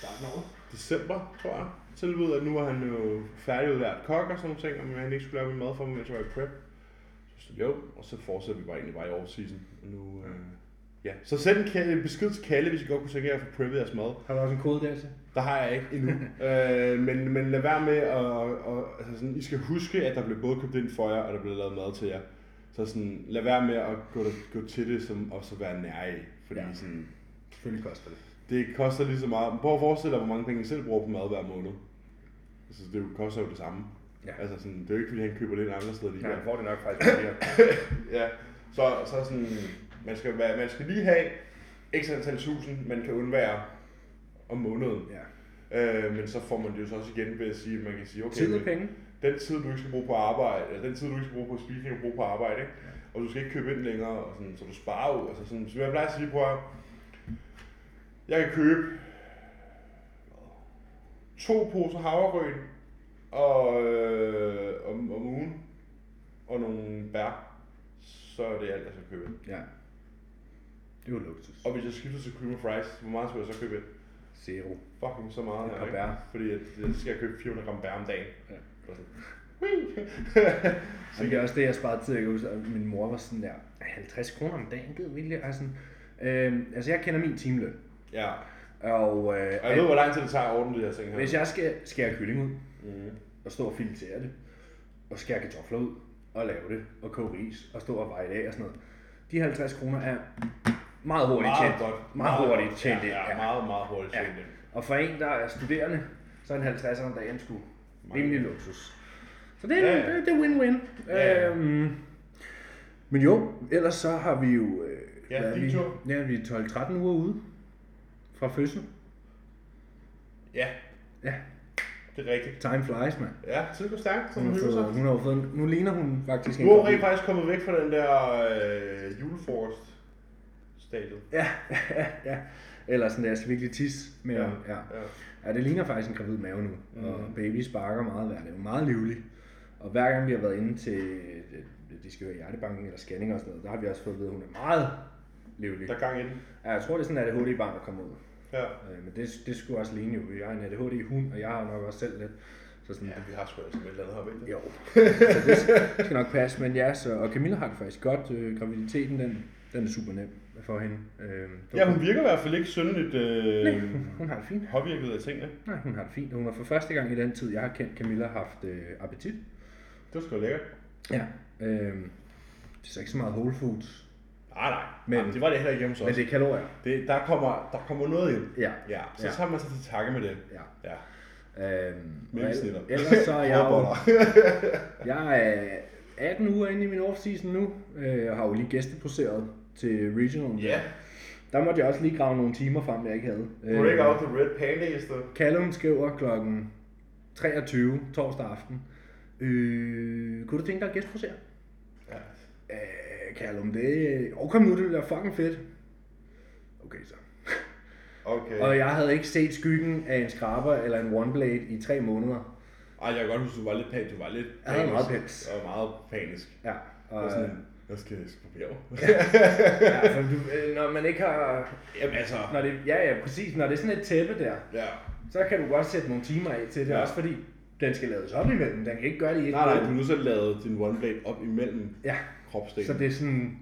[SPEAKER 2] Starten over.
[SPEAKER 1] december, tror jeg, tilbud, at nu var han jo færdigudlært kok og sådan nogle ting, og men han ikke skulle lave min mad for mig, mens jeg var i prep. Så sagde jeg, jo, og så fortsatte vi bare egentlig bare i off-season. Og nu, øh, ja. Så send en Kalle- en besked til Kalle, hvis I godt kunne tænke jer at få preppet jeres mad.
[SPEAKER 2] Har du også en kode der til?
[SPEAKER 1] Der har jeg ikke endnu. øh, men, men lad være med at... Og, altså sådan, I skal huske, at der blev både købt ind for jer, og der blev lavet mad til jer. Så sådan, lad være med at gå, gå til det, som, og så være nær i. Fordi ja.
[SPEAKER 2] Ja.
[SPEAKER 1] sådan,
[SPEAKER 2] Selvfølgelig koster det.
[SPEAKER 1] det koster lige så meget. Prøv at forestille dig, hvor mange penge I selv bruger på mad hver måned. Altså, det jo- koster jo det samme.
[SPEAKER 2] Ja.
[SPEAKER 1] Altså, sådan, det er jo ikke, fordi han køber det ind andre steder lige
[SPEAKER 2] Nej,
[SPEAKER 1] ja.
[SPEAKER 2] han får det nok faktisk billigere.
[SPEAKER 1] ja. Så, så sådan, man skal, være, man skal lige have x antal tusind, man kan undvære om måneden.
[SPEAKER 2] ja.
[SPEAKER 1] Øh, men så får man det jo så også igen ved at sige, at man kan sige, okay,
[SPEAKER 2] Tid og
[SPEAKER 1] men
[SPEAKER 2] penge.
[SPEAKER 1] den tid, du ikke skal bruge på arbejde, eller den tid, du ikke skal bruge på spise, kan du bruge på arbejde, ikke? og du skal ikke købe ind længere, og sådan, så du sparer jo. Altså sådan, så jeg plejer at sige, på jeg kan købe to poser havregryn og, øh, om, om ugen, og nogle bær, så er det alt, jeg skal købe.
[SPEAKER 2] Ja. Det er jo luksus.
[SPEAKER 1] Og hvis jeg skifter til Cream of Rice, hvor meget skulle jeg så købe ind?
[SPEAKER 2] Zero.
[SPEAKER 1] fucking så meget.
[SPEAKER 2] Et
[SPEAKER 1] her,
[SPEAKER 2] par
[SPEAKER 1] ikke?
[SPEAKER 2] bær.
[SPEAKER 1] Fordi at, øh, så skal jeg købe 400 gram bær om dagen.
[SPEAKER 2] Ja.
[SPEAKER 1] Og sådan, "Wii!"
[SPEAKER 2] Så det er også det, jeg sparede tid. Jeg kan huske, at min mor var sådan der, 50 kroner om dagen, gider virkelig. Altså, øhm, altså, jeg kender min timeløn.
[SPEAKER 1] ja.
[SPEAKER 2] Og, øh,
[SPEAKER 1] Og jeg ved, hvor lang tid det tager at ordne de her ting her.
[SPEAKER 2] Hvis jeg skal skære kylling ud,
[SPEAKER 1] Mhm.
[SPEAKER 2] og stå og filetere det, og skære kartofler ud, og lave det, og koge ris, og stå og veje det af og sådan noget. De 50 kroner er meget hurtigt
[SPEAKER 1] Meget
[SPEAKER 2] tjent.
[SPEAKER 1] godt.
[SPEAKER 2] Meget, hurtigt tjent.
[SPEAKER 1] ja, ja, meget, meget hurtigt
[SPEAKER 2] Ja.
[SPEAKER 1] tjent ind.
[SPEAKER 2] Og for en, der er studerende, så er en 50 om dagen sgu rimelig luksus. Så det er,
[SPEAKER 1] Ja, ja.
[SPEAKER 2] det, det er win-win.
[SPEAKER 1] Ja, ja.
[SPEAKER 2] Øhm, men jo, ellers så har vi jo... Øh,
[SPEAKER 1] Ja,
[SPEAKER 2] hvad er
[SPEAKER 1] din
[SPEAKER 2] vi,
[SPEAKER 1] tur.
[SPEAKER 2] ja, vi er 12-13 uger ude fra fødsel.
[SPEAKER 1] Ja,
[SPEAKER 2] Ja,
[SPEAKER 1] det er rigtigt.
[SPEAKER 2] time flies, mand.
[SPEAKER 1] Ja, tid går stærkt, så
[SPEAKER 2] Hun
[SPEAKER 1] man
[SPEAKER 2] har
[SPEAKER 1] hygger sig.
[SPEAKER 2] fået, hun har jo fået, en- nu ligner hun faktisk
[SPEAKER 1] Nu er
[SPEAKER 2] god
[SPEAKER 1] rent
[SPEAKER 2] bil.
[SPEAKER 1] faktisk kommet væk fra den der øh, julefrokost stadiet.
[SPEAKER 2] Ja, ja, ja. Eller sådan der, jeg skal virkelig tisse med ja. Ja.
[SPEAKER 1] ja.
[SPEAKER 2] ja, det ligner faktisk en gravid mave nu. Mm. Og baby sparker meget hver dag. Hun er Meget livlig. Og hver gang vi har været inde til, øh, de skal høre hjertebanken eller scanning og sådan noget, der har vi også fået at vide, at hun er meget livlig.
[SPEAKER 1] Der er gang i den.
[SPEAKER 2] Ja, jeg tror, det er sådan en ADHD-barn, der kommer ud.
[SPEAKER 1] Ja.
[SPEAKER 2] Øh, Men det, det skulle også ligne jo. Jeg er en ADHD-hund, og jeg har nok også selv lidt. Så sådan,
[SPEAKER 1] Ja, vi har sgu altså et eller andet her, ved
[SPEAKER 2] Jo, så det skal nok passe, men ja, så, og Camilla har det faktisk godt. Øh, graviditeten, den, den er super nem for hende. Øh,
[SPEAKER 1] Ja, hun virker i hvert fald ikke synderligt øh,
[SPEAKER 2] hun har det fint.
[SPEAKER 1] påvirket af tingene.
[SPEAKER 2] Nej, hun har det fint. Hun har for første gang i den tid, jeg har kendt Camilla, haft øh, appetit.
[SPEAKER 1] Det var sgu lækkert.
[SPEAKER 2] Ja. Øh, det er så ikke så meget whole foods,
[SPEAKER 1] Nej, nej. Men,
[SPEAKER 2] Men-
[SPEAKER 1] Jamen, det var det heller ikke hjemme hos os.
[SPEAKER 2] men det er kalorier.
[SPEAKER 1] Det, der, kommer, der kommer noget ind.
[SPEAKER 2] Ja.
[SPEAKER 1] Ja, så
[SPEAKER 2] Ja.
[SPEAKER 1] tager man sig til takke med det.
[SPEAKER 2] ja.
[SPEAKER 1] Ja.
[SPEAKER 2] Øhm, og
[SPEAKER 1] Mellemsnitter.
[SPEAKER 2] el- ellers så er jeg jo,
[SPEAKER 1] Råboller.
[SPEAKER 2] jeg er 18 uger inde i min off-season nu, øh, og har jo lige gæsteproduceret til Regional.
[SPEAKER 1] Ja.
[SPEAKER 2] Der måtte jeg også lige grave nogle timer frem, jeg ikke havde.
[SPEAKER 1] Break out the red panda i stedet.
[SPEAKER 2] Callum skriver klokken 23 torsdag aften. Øh, kunne du tænke dig at gæstproducere?
[SPEAKER 1] Ja.
[SPEAKER 2] Øh, Callum, det... Åh, kom nu, det bliver fucking fedt. Okay, så.
[SPEAKER 1] Okay.
[SPEAKER 2] Og jeg havde ikke set skyggen af en skraber eller en oneblade i tre måneder.
[SPEAKER 1] Ej, jeg kan godt huske, du var lidt panisk. Du var lidt
[SPEAKER 2] Jeg havde meget
[SPEAKER 1] panisk.
[SPEAKER 2] pels.
[SPEAKER 1] Og meget panisk.
[SPEAKER 2] Ja,
[SPEAKER 1] Og
[SPEAKER 2] og, øh,
[SPEAKER 1] sådan, Jeg skal, jeg skal på bjerg.
[SPEAKER 2] Ja, altså, du, øh, når man ikke har...
[SPEAKER 1] Jamen altså.
[SPEAKER 2] Når det, ja, ja, præcis. Når det er sådan et tæppe der,
[SPEAKER 1] Ja.
[SPEAKER 2] så kan du godt sætte nogle timer af til det.
[SPEAKER 1] Ja.
[SPEAKER 2] Ja. Også fordi, den skal lades op imellem. Den kan ikke gøre det i et
[SPEAKER 1] Nej, nej, du
[SPEAKER 2] hug.
[SPEAKER 1] er nødt til at lade din one blade op imellem
[SPEAKER 2] Ja,
[SPEAKER 1] kropsdelen.
[SPEAKER 2] så det er sådan...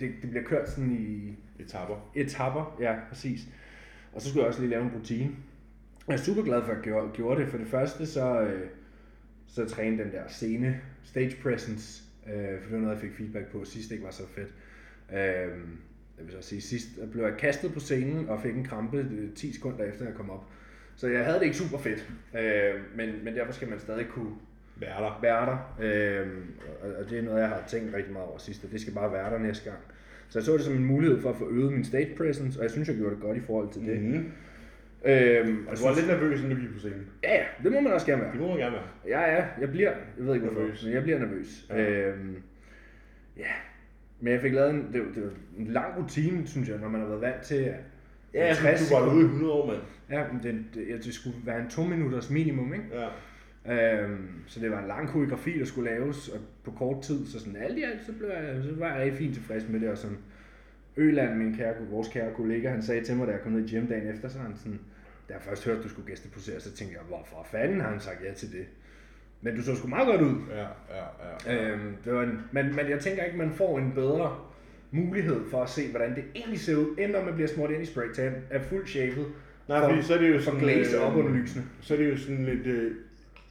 [SPEAKER 2] Det, det bliver kørt sådan i
[SPEAKER 1] Etapper.
[SPEAKER 2] etapper, ja, præcis. Og så skulle jeg også lige lave en rutine. Jeg er super glad for, at jeg gjorde, gjorde det. For det første, så, øh, så træne den der scene, stage presence, øh, for det var noget, jeg fik feedback på sidst, det ikke var så fedt. Øh, jeg vil så sige, sidst der blev jeg kastet på scenen og fik en krampe øh, 10 sekunder efter, jeg kom op. Så jeg havde det ikke super fedt, øh, men, men derfor skal man stadig kunne
[SPEAKER 1] Vær der.
[SPEAKER 2] være der. Øh, og, og det er noget, jeg har tænkt rigtig meget over sidst, og det skal bare være der næste gang. Så jeg så det som en mulighed for at få øget min stage presence, og jeg synes, jeg gjorde det godt i forhold til det. Mm.
[SPEAKER 1] Mm-hmm.
[SPEAKER 2] Øhm, og
[SPEAKER 1] Du var lidt nervøs, inden du gik på scenen.
[SPEAKER 2] Ja, ja, det må man også gerne være.
[SPEAKER 1] Det må man gerne være.
[SPEAKER 2] Ja, ja, jeg bliver, jeg ved ikke hvorfor,
[SPEAKER 1] Nervøs.
[SPEAKER 2] nervøs. men jeg bliver nervøs.
[SPEAKER 1] Ja.
[SPEAKER 2] Ja. Øhm, ja. Men jeg fik lavet en, det, var- det var en lang rutine, synes jeg, når man har været vant til at...
[SPEAKER 1] Ja, jeg synes,
[SPEAKER 2] 60
[SPEAKER 1] du var ude i 100 år, mand.
[SPEAKER 2] Ja, men det, det, ja, det skulle være en to minutters minimum, ikke?
[SPEAKER 1] Ja.
[SPEAKER 2] Øhm, så det var en lang koreografi, der skulle laves, og på kort tid, så sådan alt i alt, så, blev jeg, så var jeg rigtig fint tilfreds med det, og som Øland, min kære, vores kære kollega, han sagde til mig, da jeg kom ned i gym dagen efter, så han sådan, da jeg først hørte, at du skulle gæsteposere, så tænkte jeg, hvorfor fanden har han sagt ja til det? Men du så sgu meget godt ud.
[SPEAKER 1] Ja, ja, ja.
[SPEAKER 2] Øhm, det var en, men, men jeg tænker ikke, man får en bedre mulighed for at se, hvordan det egentlig ser ud, end når man bliver smurt ind i spraytan, er fuldt shaped,
[SPEAKER 1] Nej,
[SPEAKER 2] for,
[SPEAKER 1] fordi så er det jo
[SPEAKER 2] for
[SPEAKER 1] sådan...
[SPEAKER 2] glaze
[SPEAKER 1] øh,
[SPEAKER 2] op under lysene.
[SPEAKER 1] Så er det jo sådan lidt øh,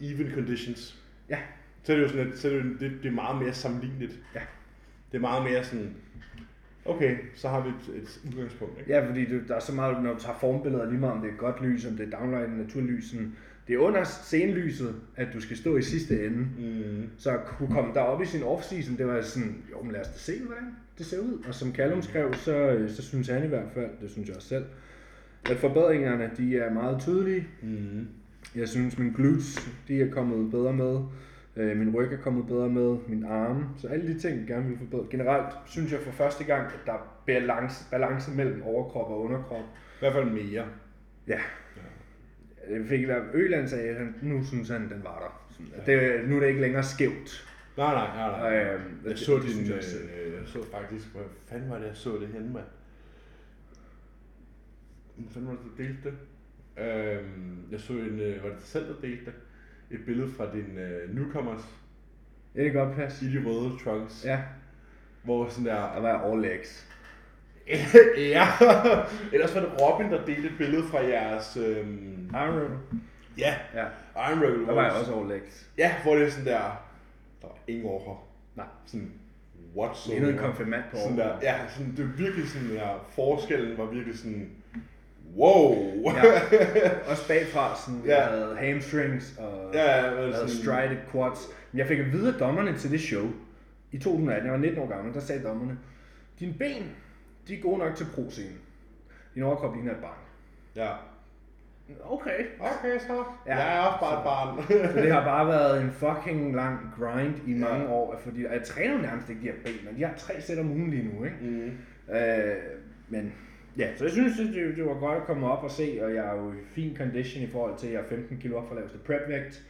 [SPEAKER 1] even conditions.
[SPEAKER 2] Ja.
[SPEAKER 1] Så er det jo sådan, at så er det, jo- det, det er meget mere sammenligneligt.
[SPEAKER 2] Ja.
[SPEAKER 1] Det er meget mere sådan... Okay, så har vi et, et udgangspunkt, ikke?
[SPEAKER 2] Ja, fordi det, der er så meget, når du tager formbilleder, lige meget om det er godt lys, om det er downlight, naturlys, sådan, det er under scenelyset, at du skal stå i sidste ende.
[SPEAKER 1] Mm.
[SPEAKER 2] Så at kunne komme derop i sin off-season, det var sådan, jo, men lad os da se, hvordan det ser ud. Og som Callum skrev, så, øh, så synes han i hvert fald, det synes jeg også selv, at forbedringerne, de er meget tydelige.
[SPEAKER 1] Mm.
[SPEAKER 2] Jeg synes, min glutes, de er kommet bedre med. Øh, min ryg er kommet bedre med. Min arme. Så alle de ting, jeg gerne vil forbedre. Generelt synes jeg for første gang, at der er balance, balance mellem overkrop og underkrop.
[SPEAKER 1] I hvert fald mere.
[SPEAKER 2] Ja. Jeg fik i hvert fald Øland sagde, at han, nu synes han, den var der. Sådan, at det, nu er det ikke længere skævt.
[SPEAKER 1] Nej, nej, nej, nej.
[SPEAKER 2] Øhm,
[SPEAKER 1] jeg
[SPEAKER 2] det-
[SPEAKER 1] så
[SPEAKER 2] det
[SPEAKER 1] det, din,
[SPEAKER 2] synes jeg
[SPEAKER 1] jeg,
[SPEAKER 2] også selv.
[SPEAKER 1] øh, jeg så faktisk, hvor fanden var det, jeg så det henne, mand? Hvor fanden var det, du delte det? Øhm, jeg så en, øh, var det dig selv, der delte det? Et billede fra din øh, newcomers
[SPEAKER 2] Ja, det kan godt passe.
[SPEAKER 1] i de røde trunks,
[SPEAKER 2] Ja,
[SPEAKER 1] hvor sådan der,
[SPEAKER 2] der var jeg all legs.
[SPEAKER 1] ja, ellers var det Robin, der delte et billede fra jeres, øhm,
[SPEAKER 2] Iron
[SPEAKER 1] ja,
[SPEAKER 2] Ja,
[SPEAKER 1] Iron Rebel
[SPEAKER 2] der var jeg også all legs.
[SPEAKER 1] Ja, hvor det er sådan der, der var ingen overhop.
[SPEAKER 2] Nej.
[SPEAKER 1] Sådan, what's
[SPEAKER 2] Det er en konfirmand på
[SPEAKER 1] Sådan
[SPEAKER 2] overkrop.
[SPEAKER 1] der, ja, sådan, det er virkelig sådan der, forskellen var virkelig sådan, wow.
[SPEAKER 2] Ja. Også bagfra, sådan,
[SPEAKER 1] Ja.
[SPEAKER 2] jeg havde hamstrings og
[SPEAKER 1] ja, ja, men
[SPEAKER 2] Jeg havde strided quads. Men jeg fik at vide af dommerne til det show i 2018. Jeg var 19 år gammel, der sagde dommerne, dine ben, de er gode nok til pro-scenen. Din overkrop ligner et barn.
[SPEAKER 1] Ja.
[SPEAKER 2] Okay.
[SPEAKER 1] Okay, så. Ja,
[SPEAKER 2] Ja.
[SPEAKER 1] jeg er også bare et barn.
[SPEAKER 2] Så det har bare været en fucking lang grind i mange år, fordi og jeg træner jo nærmest ikke de her ben, men de har tre sæt om ugen lige nu, ikke?
[SPEAKER 1] mm.
[SPEAKER 2] Øh, men ja, så jeg synes, det, det det var godt at komme op og se, og jeg er jo i fin condition i forhold til, at jeg er 15 kilo op for laveste prepvægt.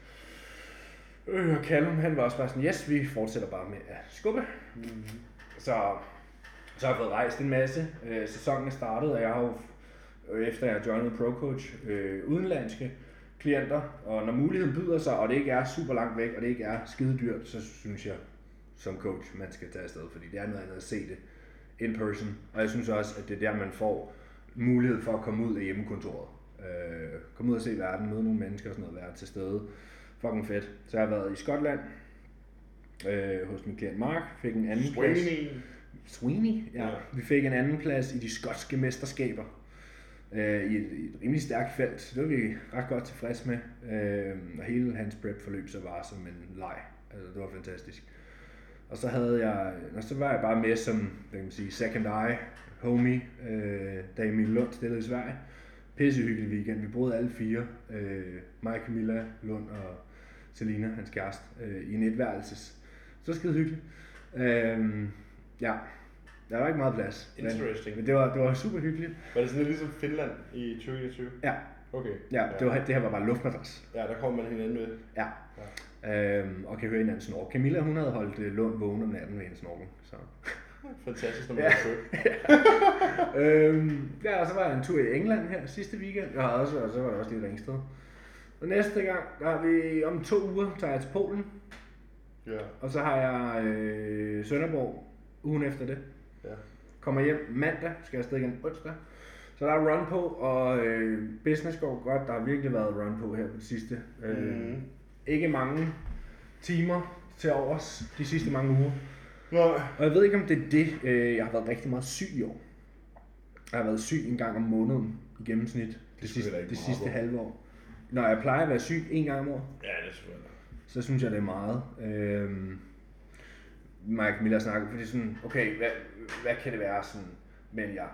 [SPEAKER 2] Øh, og Callum, han var også bare sådan, yes, vi fortsætter bare med at skubbe. Mm. Så, så har jeg fået rejst en masse. Øh, sæsonen er startet, og jeg har jo, øh, efter jeg joinede ProCoach, øh, udenlandske klienter, og når muligheden byder sig, og det ikke er super langt væk, og det ikke er skide dyrt, så synes jeg som coach, man skal tage afsted, fordi det er noget andet at se det in person. Og jeg synes også, at det er der, man får mulighed for at komme ud af hjemmekontoret. Øh, komme ud og se verden, møde nogle mennesker og sådan noget, være til stede. Fucking fedt. Så jeg har været i Skotland øh, hos min klient Mark, fik en anden plads.
[SPEAKER 1] Swinging.
[SPEAKER 2] Sweeney, ja.
[SPEAKER 1] Ja.
[SPEAKER 2] ja. Vi fik en anden plads i de skotske mesterskaber. Øh, i, et, I et rimelig stærkt felt. Så det var vi ret godt tilfredse med. Øh, og hele hans prep-forløb så var som en leg. Altså, det var fantastisk. Og så havde jeg, og så var jeg bare med som, hvad kan man sige, second eye homie, øh, da Emil Lund stillede i Sverige. Pissehyggelig weekend. Vi boede alle fire. Øh, mig, Camilla, Lund og Selina, hans kæreste, øh, i en etværelses. Så skide hyggeligt. Øh, ja, der var ikke meget plads. Men,
[SPEAKER 1] Interesting.
[SPEAKER 2] men det, var, det var super hyggeligt.
[SPEAKER 1] Var det sådan lidt ligesom Finland i 2021?
[SPEAKER 2] Ja,
[SPEAKER 1] Okay.
[SPEAKER 2] ja, det, var, det her var bare en luftmadras.
[SPEAKER 1] ja, der kommer man hinanden ved.
[SPEAKER 2] Ja. Øhm, og kan høre hinanden snorke. Camilla, hun havde holdt øh, Lund vågen om natten ved hendes snorken. Så.
[SPEAKER 1] Fantastisk, når man er sød.
[SPEAKER 2] øhm, ja, og så var jeg en tur i England her sidste weekend. Jeg har også, og så var jeg også lige i Ringsted. Og næste gang, der er vi om to uger, tager jeg til Polen.
[SPEAKER 1] Ja,
[SPEAKER 2] Og så har jeg øh, Sønderborg ugen efter det.
[SPEAKER 1] ja.
[SPEAKER 2] Kommer hjem mandag, skal jeg afsted igen onsdag. Så der er run på, og øh, business går godt. Der har virkelig været run på her på det sidste. Øh,
[SPEAKER 1] Mhm.
[SPEAKER 2] ikke mange timer til overs de sidste mange uger.
[SPEAKER 1] Nå,
[SPEAKER 2] Og jeg ved ikke, om det er det. Øh, jeg har været rigtig meget syg i år. Jeg har været syg en gang om måneden i gennemsnit. Det,
[SPEAKER 1] sgu heller
[SPEAKER 2] sidste,
[SPEAKER 1] ikke
[SPEAKER 2] det
[SPEAKER 1] meget,
[SPEAKER 2] sidste
[SPEAKER 1] hvor-
[SPEAKER 2] halve år. Når jeg plejer at være syg en gang om året,
[SPEAKER 1] ja, det er selvfølgelig.
[SPEAKER 2] så synes jeg, det er meget. Øhm, Mike Miller snakker, fordi sådan, okay, hvad, hvad kan det være sådan, men jeg,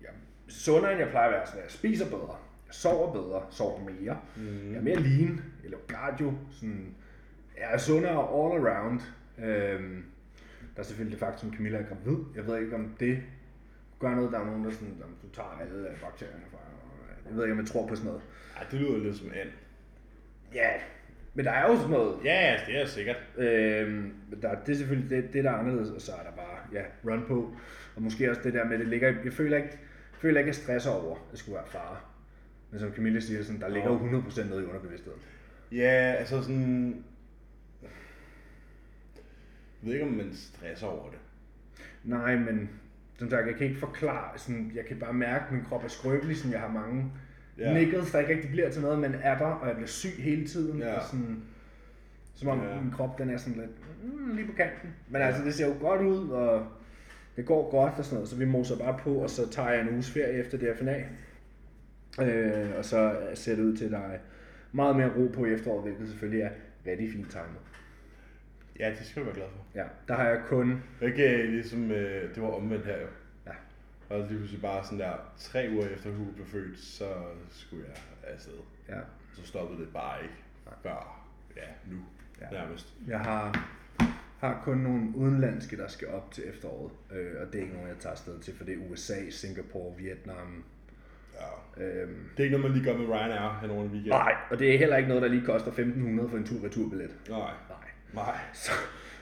[SPEAKER 2] jeg er sundere, end jeg plejer at være, sådan, jeg spiser bedre, jeg sover bedre, sover mere, mm. jeg er mere lean, jeg laver cardio, sådan, jeg er sundere all around. Øhm, der er selvfølgelig det faktum, at Camilla er gravid. Jeg ved ikke, om det gør noget. Der er nogen, der sådan, "Jamen, du tager alle øh, bakterierne fra. Jeg ved ikke, om jeg tror på sådan noget.
[SPEAKER 1] Ej, det lyder lidt som and.
[SPEAKER 2] Ja, men der er jo sådan noget
[SPEAKER 1] Ja, altså, det er sikkert.
[SPEAKER 2] Øhm, der, det er selvfølgelig det, det, der er anderledes, og så er der bare ja, run på. Og måske også det der med, det ligger, jeg føler ikke, jeg føler ikke, at jeg stresser over, at skulle være far. Men som Camille siger, sådan, der ligger jo 100% nede i underbevidstheden.
[SPEAKER 1] Ja, altså sådan... Jeg ved ikke, om man stresser over det.
[SPEAKER 2] Nej, men som sagt, jeg kan ikke forklare, sådan, jeg kan bare mærke, at min krop er skrøbelig, sådan, jeg har mange
[SPEAKER 1] Ja.
[SPEAKER 2] ja. nikkels, der ikke rigtig bliver til noget, men er der, og jeg bliver syg hele tiden,
[SPEAKER 1] Ja.
[SPEAKER 2] ja. og sådan, som om
[SPEAKER 1] Ja.
[SPEAKER 2] ja. min krop, den er sådan lidt, mm, lige på kanten. Men altså, det ser jo godt ud, og det går godt og sådan noget, så vi moser bare på, og så tager jeg en uges ferie efter det her final. Øh, og så ser det ud til, at der er meget mere ro på i efteråret, hvilket selvfølgelig er rigtig fint timet.
[SPEAKER 1] Ja, det skal du være glad for.
[SPEAKER 2] Ja, der har jeg kun,
[SPEAKER 1] Okay, ligesom, øh, det var omvendt her jo.
[SPEAKER 2] ja,
[SPEAKER 1] Og lige pludselig bare sådan der, tre uger efter Hugo blev født, så skulle jeg afsted.
[SPEAKER 2] ja,
[SPEAKER 1] Så stoppede det bare ikke. Før, ja, nu. Ja.
[SPEAKER 2] Ja.
[SPEAKER 1] Nærmest.
[SPEAKER 2] Jeg har, har kun nogle udenlandske, der skal op til efteråret, øh, og det er ikke nogen, jeg tager afsted til, for det er USA, Singapore, Vietnam.
[SPEAKER 1] Ja.
[SPEAKER 2] Øh,
[SPEAKER 1] Det er ikke noget, man lige gør med Ryanair hen over en weekend.
[SPEAKER 2] nej, og det er heller ikke noget, der lige koster 1.500 for en tur-returbillet.
[SPEAKER 1] Nej.
[SPEAKER 2] Nej.
[SPEAKER 1] Nej.
[SPEAKER 2] Så,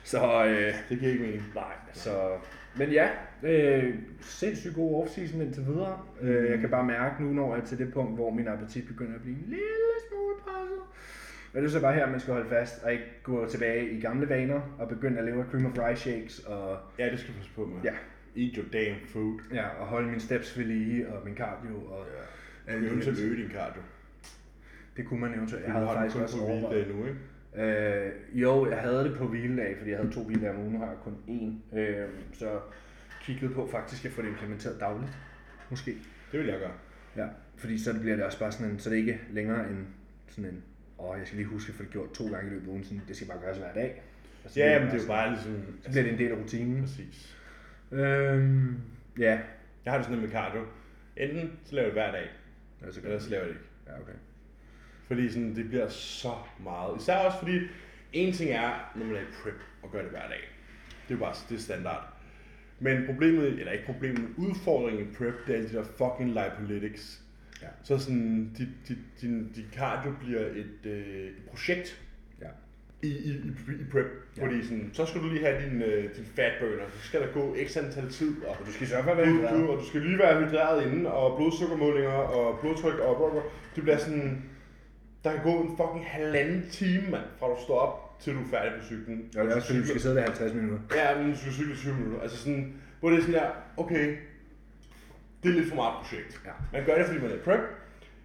[SPEAKER 2] så øh,
[SPEAKER 1] Det giver ikke mening.
[SPEAKER 2] nej, så... Men ja, øh, sindssygt god off-season indtil videre.
[SPEAKER 1] Mm-hmm.
[SPEAKER 2] Øh, jeg kan bare mærke nu, når jeg er til det punkt, hvor min appetit begynder at blive en lille smule presset. Og det er så bare her, man skal holde fast og ikke gå tilbage i gamle vaner og begynde at leve af cream of rice shakes og
[SPEAKER 1] Ja, det skal du passe på med.
[SPEAKER 2] Ja.
[SPEAKER 1] Eat your damn food.
[SPEAKER 2] Ja, og holde mine steps ved lige, og min cardio, og
[SPEAKER 1] Ja.
[SPEAKER 2] alle
[SPEAKER 1] Du er
[SPEAKER 2] de
[SPEAKER 1] nødt til at
[SPEAKER 2] ting.
[SPEAKER 1] øge din cardio.
[SPEAKER 2] det kunne man eventuelt. Jeg
[SPEAKER 1] Du
[SPEAKER 2] havde
[SPEAKER 1] har den
[SPEAKER 2] faktisk
[SPEAKER 1] kun
[SPEAKER 2] også
[SPEAKER 1] på hviledag
[SPEAKER 2] overvejet.
[SPEAKER 1] nu, ikke?
[SPEAKER 2] Øh, jo, jeg havde det på hviledag, fordi jeg havde to hviledage om ugen, nu har jeg kun én. Øh, så kiggede på faktisk at få det implementeret dagligt, måske.
[SPEAKER 1] Det vil jeg gøre.
[SPEAKER 2] Ja, fordi så bliver det også bare sådan en, så det er ikke længere en sådan en, åh, jeg skal lige huske at få det gjort to gange i løbet af ugen, sådan, det skal bare gøres hver dag. Og så bliver
[SPEAKER 1] Ja, men det er jo
[SPEAKER 2] sådan-
[SPEAKER 1] bare ligesom...
[SPEAKER 2] Så bliver det en del af rutinen.
[SPEAKER 1] Præcis.
[SPEAKER 2] Øhm, ja.
[SPEAKER 1] Jeg har det sådan lidt med cardio. Enten så laver jeg det hver dag,
[SPEAKER 2] Altså,
[SPEAKER 1] eller så laver jeg det ikke.
[SPEAKER 2] ja, okay.
[SPEAKER 1] Fordi sådan, det bliver så meget. Især også fordi, en ting er, når man er i prep og gør det hver dag. Det er jo bare det er standard. Men problemet, eller ikke problemet, udfordringen i prep, det er alle de der fucking lipolytics.
[SPEAKER 2] Ja.
[SPEAKER 1] Så sådan, dit, dit, din, dit cardio bliver et, øh, et projekt,
[SPEAKER 2] Ja.
[SPEAKER 1] i, i, i, i prep. Ja.
[SPEAKER 2] Ja.
[SPEAKER 1] Fordi sådan, så skal du lige have din, øh, din fat burner, så skal der gå x antal tid, og du
[SPEAKER 2] Du
[SPEAKER 1] skal,
[SPEAKER 2] skal sørge for at være
[SPEAKER 1] du, du,
[SPEAKER 2] hydreret.
[SPEAKER 1] og du skal lige være hydreret inden, og blodsukkermålinger, og blodtryk, og blodtryk. Det bliver sådan, der kan gå en fucking halvanden time, mand, fra du står op, til du er færdig på cyklen.
[SPEAKER 2] Ja, det er også fordi, du skal
[SPEAKER 1] Cykler-
[SPEAKER 2] sidde der 50 minutter.
[SPEAKER 1] Ja, men du skal cykle 20 minutter. Altså sådan, hvor det er sådan der, okay, det er lidt for meget et projekt.
[SPEAKER 2] Ja.
[SPEAKER 1] Man gør det, fordi man er i prep,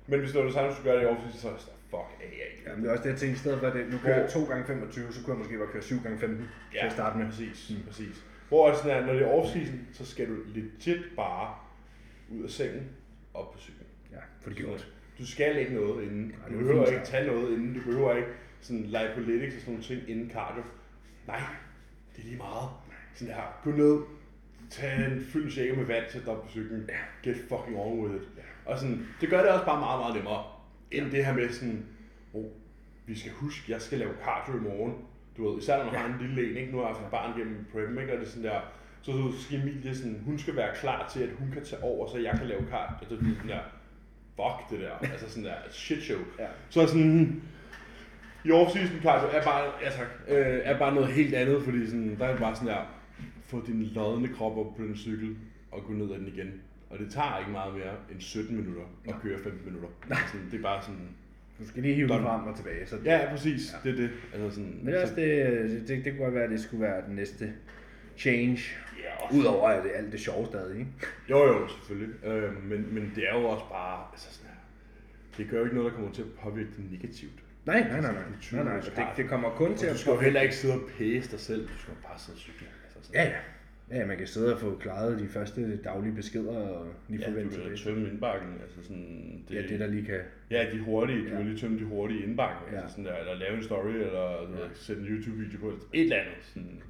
[SPEAKER 1] men hvis det var det samme, du skulle gøre det i overfløjelse, så er det sådan, fuck af, jeg ikke.
[SPEAKER 2] Jamen, det er også det, jeg tænkte, i stedet for, at det, nu kører jeg 2 gange 25 så kunne jeg måske bare køre 7 gange 15 ja. til at starte med.
[SPEAKER 1] Præcis, mm. præcis. Hvor er det sådan, at når det er off-season, så skal du legit bare ud af sengen op på cyklen.
[SPEAKER 2] Ja, for det gjort.
[SPEAKER 1] Du skal ikke noget inden.
[SPEAKER 2] det er
[SPEAKER 1] du
[SPEAKER 2] jo
[SPEAKER 1] behøver
[SPEAKER 2] fint,
[SPEAKER 1] ikke
[SPEAKER 2] så.
[SPEAKER 1] tage noget inden. Du behøver ikke sådan lipolytics og sådan nogle ting inden cardio. Nej, det er lige meget. Sådan her, gå ned, tag en fyldt shaker med vand, sæt dig op på cyklen. Get fucking on with it. Og sådan, det gør det også bare meget, meget nemmere. End det her med sådan, oh, vi skal huske, jeg skal lave cardio i morgen. Du ved, især når man har en lille en, ikke? Nu har jeg haft et barn gennem prep, ikke? Og det er sådan der, så, så skal Emilie sådan, hun skal være klar til, at hun kan tage over, så jeg kan lave cardio. Og så er det sådan der, fuck det der, altså sådan der, shit show.
[SPEAKER 2] Ja.
[SPEAKER 1] Så er jeg sådan, I off-season cardio er bare, ja, tak, øh, er bare noget helt andet, fordi sådan, der er det bare sådan der, få din lodne krop op på den cykel og gå ned ad den igen. Og det tager ikke meget mere end 17 minutter at køre 15 minutter. Sådan, det er bare sådan,
[SPEAKER 2] Du skal lige hive den
[SPEAKER 1] Done.
[SPEAKER 2] frem og tilbage. Så
[SPEAKER 1] ja, ja, præcis, det er det. Altså sådan,
[SPEAKER 2] Men ellers,
[SPEAKER 1] så-
[SPEAKER 2] det, det, det kunne godt være, at det skulle være den næste change.
[SPEAKER 1] Ja, og-
[SPEAKER 2] Udover at det, alt det sjove stadig, ikke?
[SPEAKER 1] Jo, jo, selvfølgelig. Øh, men, men det er jo også bare, altså sådan her, det gør jo ikke noget, der kommer til at påvirke det negativt.
[SPEAKER 2] Nej, nej, nej, nej.
[SPEAKER 1] Det er tydeligt,
[SPEAKER 2] nej, nej. og Det, det kommer kun til
[SPEAKER 1] Og
[SPEAKER 2] at...
[SPEAKER 1] du skal jo heller ikke sidde og pæse dig selv, du skal jo bare sidde og cykle. Altså sådan.
[SPEAKER 2] Ja, ja. Ja, man kan sidde og få klaret de første daglige beskeder og lige
[SPEAKER 1] Ja,
[SPEAKER 2] forvente
[SPEAKER 1] du
[SPEAKER 2] til
[SPEAKER 1] kan da
[SPEAKER 2] det.
[SPEAKER 1] tømme indbakken, altså sådan...
[SPEAKER 2] Ja, det der lige kan...
[SPEAKER 1] ja, de hurtige, du
[SPEAKER 2] Ja.
[SPEAKER 1] kan lige tømme de hurtige indbakken, ja.
[SPEAKER 2] Ja.
[SPEAKER 1] altså sådan der, eller lave en story, eller du ved, sætte en YouTube-video på, et eller andet. Sådan.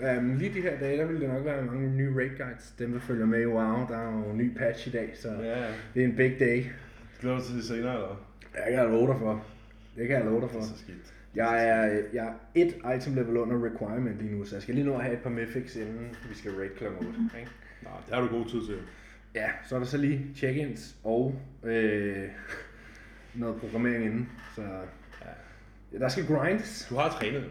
[SPEAKER 2] Ja. Um, lige de her dage, der vil der nok være mange nye raid guides. Dem, der følger med i WoW, der er jo en ny patch i dag, så ja.
[SPEAKER 1] Ja,
[SPEAKER 2] det er en big day.
[SPEAKER 1] glæder du til det senere, eller hvad?
[SPEAKER 2] Ja, Jeg kan love dig for. Det kan jeg love dig for.
[SPEAKER 1] Det er så skidt.
[SPEAKER 2] Jeg er, jeg er et item level under requirement lige nu, så jeg skal lige nå at have et par mythics, inden vi skal raid kl. 8. Ikke?
[SPEAKER 1] Nå, det har du god tid til.
[SPEAKER 2] Ja, så er der så lige check-ins og øh, noget programmering inden. Så
[SPEAKER 1] Ja.
[SPEAKER 2] ja, der skal grindes.
[SPEAKER 1] Du har trænet.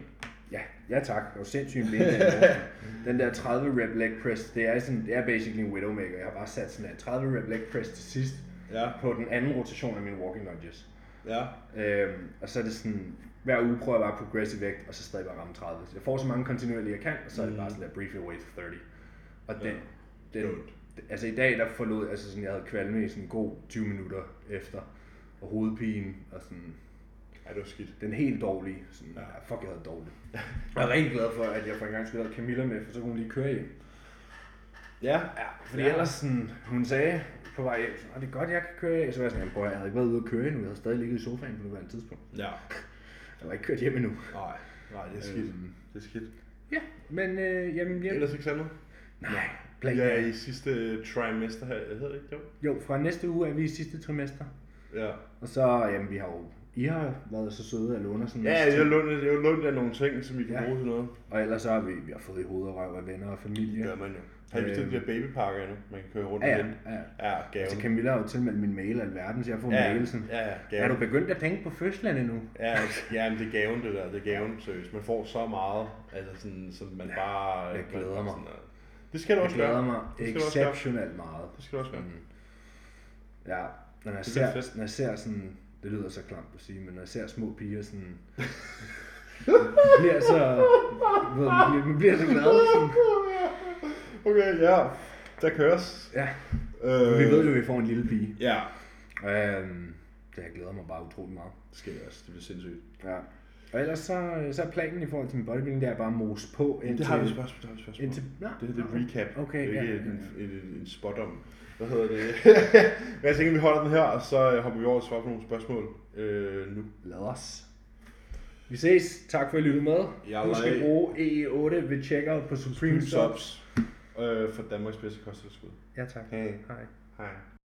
[SPEAKER 2] Ja, ja tak. Det var sindssygt ben den morgen. Den der 30 rep leg press, det er, sådan, det er basically en widowmaker. Jeg har bare sat sådan en 30 rep leg press til sidst
[SPEAKER 1] Ja,
[SPEAKER 2] på den anden rotation af mine walking lunges.
[SPEAKER 1] ja.
[SPEAKER 2] Øhm, og så er det sådan, hver uge prøver jeg bare at progresse i vægt, og så stadig bare ramme 30. Så jeg får så mange kontinuerlige, jeg kan, og så er det bare sådan der briefly away to 30. Og den,
[SPEAKER 1] Mm. Ja.
[SPEAKER 2] den,
[SPEAKER 1] Dumt.
[SPEAKER 2] altså i dag, der forlod, altså sådan, jeg havde kvalme i sådan en god 20 minutter efter, og hovedpine, og sådan,
[SPEAKER 1] Ej, det var skidt.
[SPEAKER 2] den helt dårlige, sådan, ja. fuck, jeg havde dårligt. Jeg er rigtig glad for, at jeg for en gang skulle have Camilla med, for så kunne hun lige køre hjem.
[SPEAKER 1] Ja.
[SPEAKER 2] Ja, fordi ja. ellers sådan, hun sagde på vej hjem, sådan, "Åh, det er godt, jeg kan køre hjem. Så var jeg sådan, "Jamen, bror, jeg havde ikke været ude at køre endnu, jeg havde stadig ligget i sofaen på nuværende tidspunkt.
[SPEAKER 1] Ja.
[SPEAKER 2] Jeg var ikke kørt hjem endnu. Øhm,
[SPEAKER 1] Nej, nej, det er skidt. Det er skidt.
[SPEAKER 2] Ja, men øh, jamen, jamen,
[SPEAKER 1] Ellers ikke andet?
[SPEAKER 2] nej, plan.
[SPEAKER 1] Ja, i sidste trimester her, hedder det ikke? Jo.
[SPEAKER 2] Jo, fra næste uge er vi i sidste trimester.
[SPEAKER 1] Ja.
[SPEAKER 2] Og så, jamen, vi har jo, I har været så søde at låne os en
[SPEAKER 1] Ja,
[SPEAKER 2] masse
[SPEAKER 1] jeg
[SPEAKER 2] ting.
[SPEAKER 1] lånte, jeg lånte af nogle ting, som I kan
[SPEAKER 2] Ja.
[SPEAKER 1] ja. bruge til noget.
[SPEAKER 2] Og ellers så har vi, vi har fået i hovedet og røv af venner og familie.
[SPEAKER 1] Det gør man jo. Har I bestilt de der babypakker endnu, man kan køre rundt
[SPEAKER 2] Ja,
[SPEAKER 1] ja,
[SPEAKER 2] ja,
[SPEAKER 1] igen?
[SPEAKER 2] ja.
[SPEAKER 1] Ja, gaven.
[SPEAKER 2] Altså Camilla har jo tilmeldt min mail alverden, så jeg får ja,
[SPEAKER 1] ja,
[SPEAKER 2] mail sådan.
[SPEAKER 1] ja, ja,
[SPEAKER 2] Er du
[SPEAKER 1] gaven.
[SPEAKER 2] begyndt at tænke på fødslen endnu?
[SPEAKER 1] Ja, ja, men det er gaven, det der. Det er gaven, seriøst. Man får så meget, altså sådan, som man bare...
[SPEAKER 2] jeg glæder mig.
[SPEAKER 1] Sådan, øh, det skal du
[SPEAKER 2] Jeg
[SPEAKER 1] også gøre.
[SPEAKER 2] glæder mig
[SPEAKER 1] Det skal du også gøre.
[SPEAKER 2] exceptionelt meget.
[SPEAKER 1] Det skal du også gøre. Mm.
[SPEAKER 2] Ja, når jeg,
[SPEAKER 1] Det
[SPEAKER 2] ser,
[SPEAKER 1] bliver fedt.
[SPEAKER 2] når jeg ser sådan, det lyder så klamt at sige, men når jeg ser små piger sådan, man bliver så, du ved, man, bliver, man bliver så glad. Sådan.
[SPEAKER 1] Okay, ja. Der køres.
[SPEAKER 2] Ja,
[SPEAKER 1] Øh,
[SPEAKER 2] vi ved jo, at vi får en lille pige.
[SPEAKER 1] Ja,
[SPEAKER 2] Øhm, det jeg glæder mig bare utrolig meget.
[SPEAKER 1] det skal det også. Det bliver sindssygt.
[SPEAKER 2] Ja. Og ellers så, så er planen i forhold til min bodybuilding, det er bare at mose på indtil...
[SPEAKER 1] Det har vi et spørgsmål, det har vi et spørgsmål.
[SPEAKER 2] Indtil, nå,
[SPEAKER 1] Det her det er
[SPEAKER 2] nå.
[SPEAKER 1] recap,
[SPEAKER 2] Okay,
[SPEAKER 1] det
[SPEAKER 2] ja,
[SPEAKER 1] er
[SPEAKER 2] ja,
[SPEAKER 1] ikke
[SPEAKER 2] ja.
[SPEAKER 1] en, en, en, en spot om. Hvad hedder det? Men jeg tænker, vi holder den her, og så øh, hopper vi over og svarer på nogle spørgsmål øh, nu.
[SPEAKER 2] Lad os. Vi ses. Tak for at I lyttede med.
[SPEAKER 1] Jeg
[SPEAKER 2] Husk at
[SPEAKER 1] like-
[SPEAKER 2] bruge E EE8 ved checkout på Supreme,
[SPEAKER 1] Supreme
[SPEAKER 2] Subs.
[SPEAKER 1] Subs øh, for Danmarks bedste kosttilskud.
[SPEAKER 2] Ja, tak.
[SPEAKER 1] Hey.
[SPEAKER 2] Hej.
[SPEAKER 1] Hej.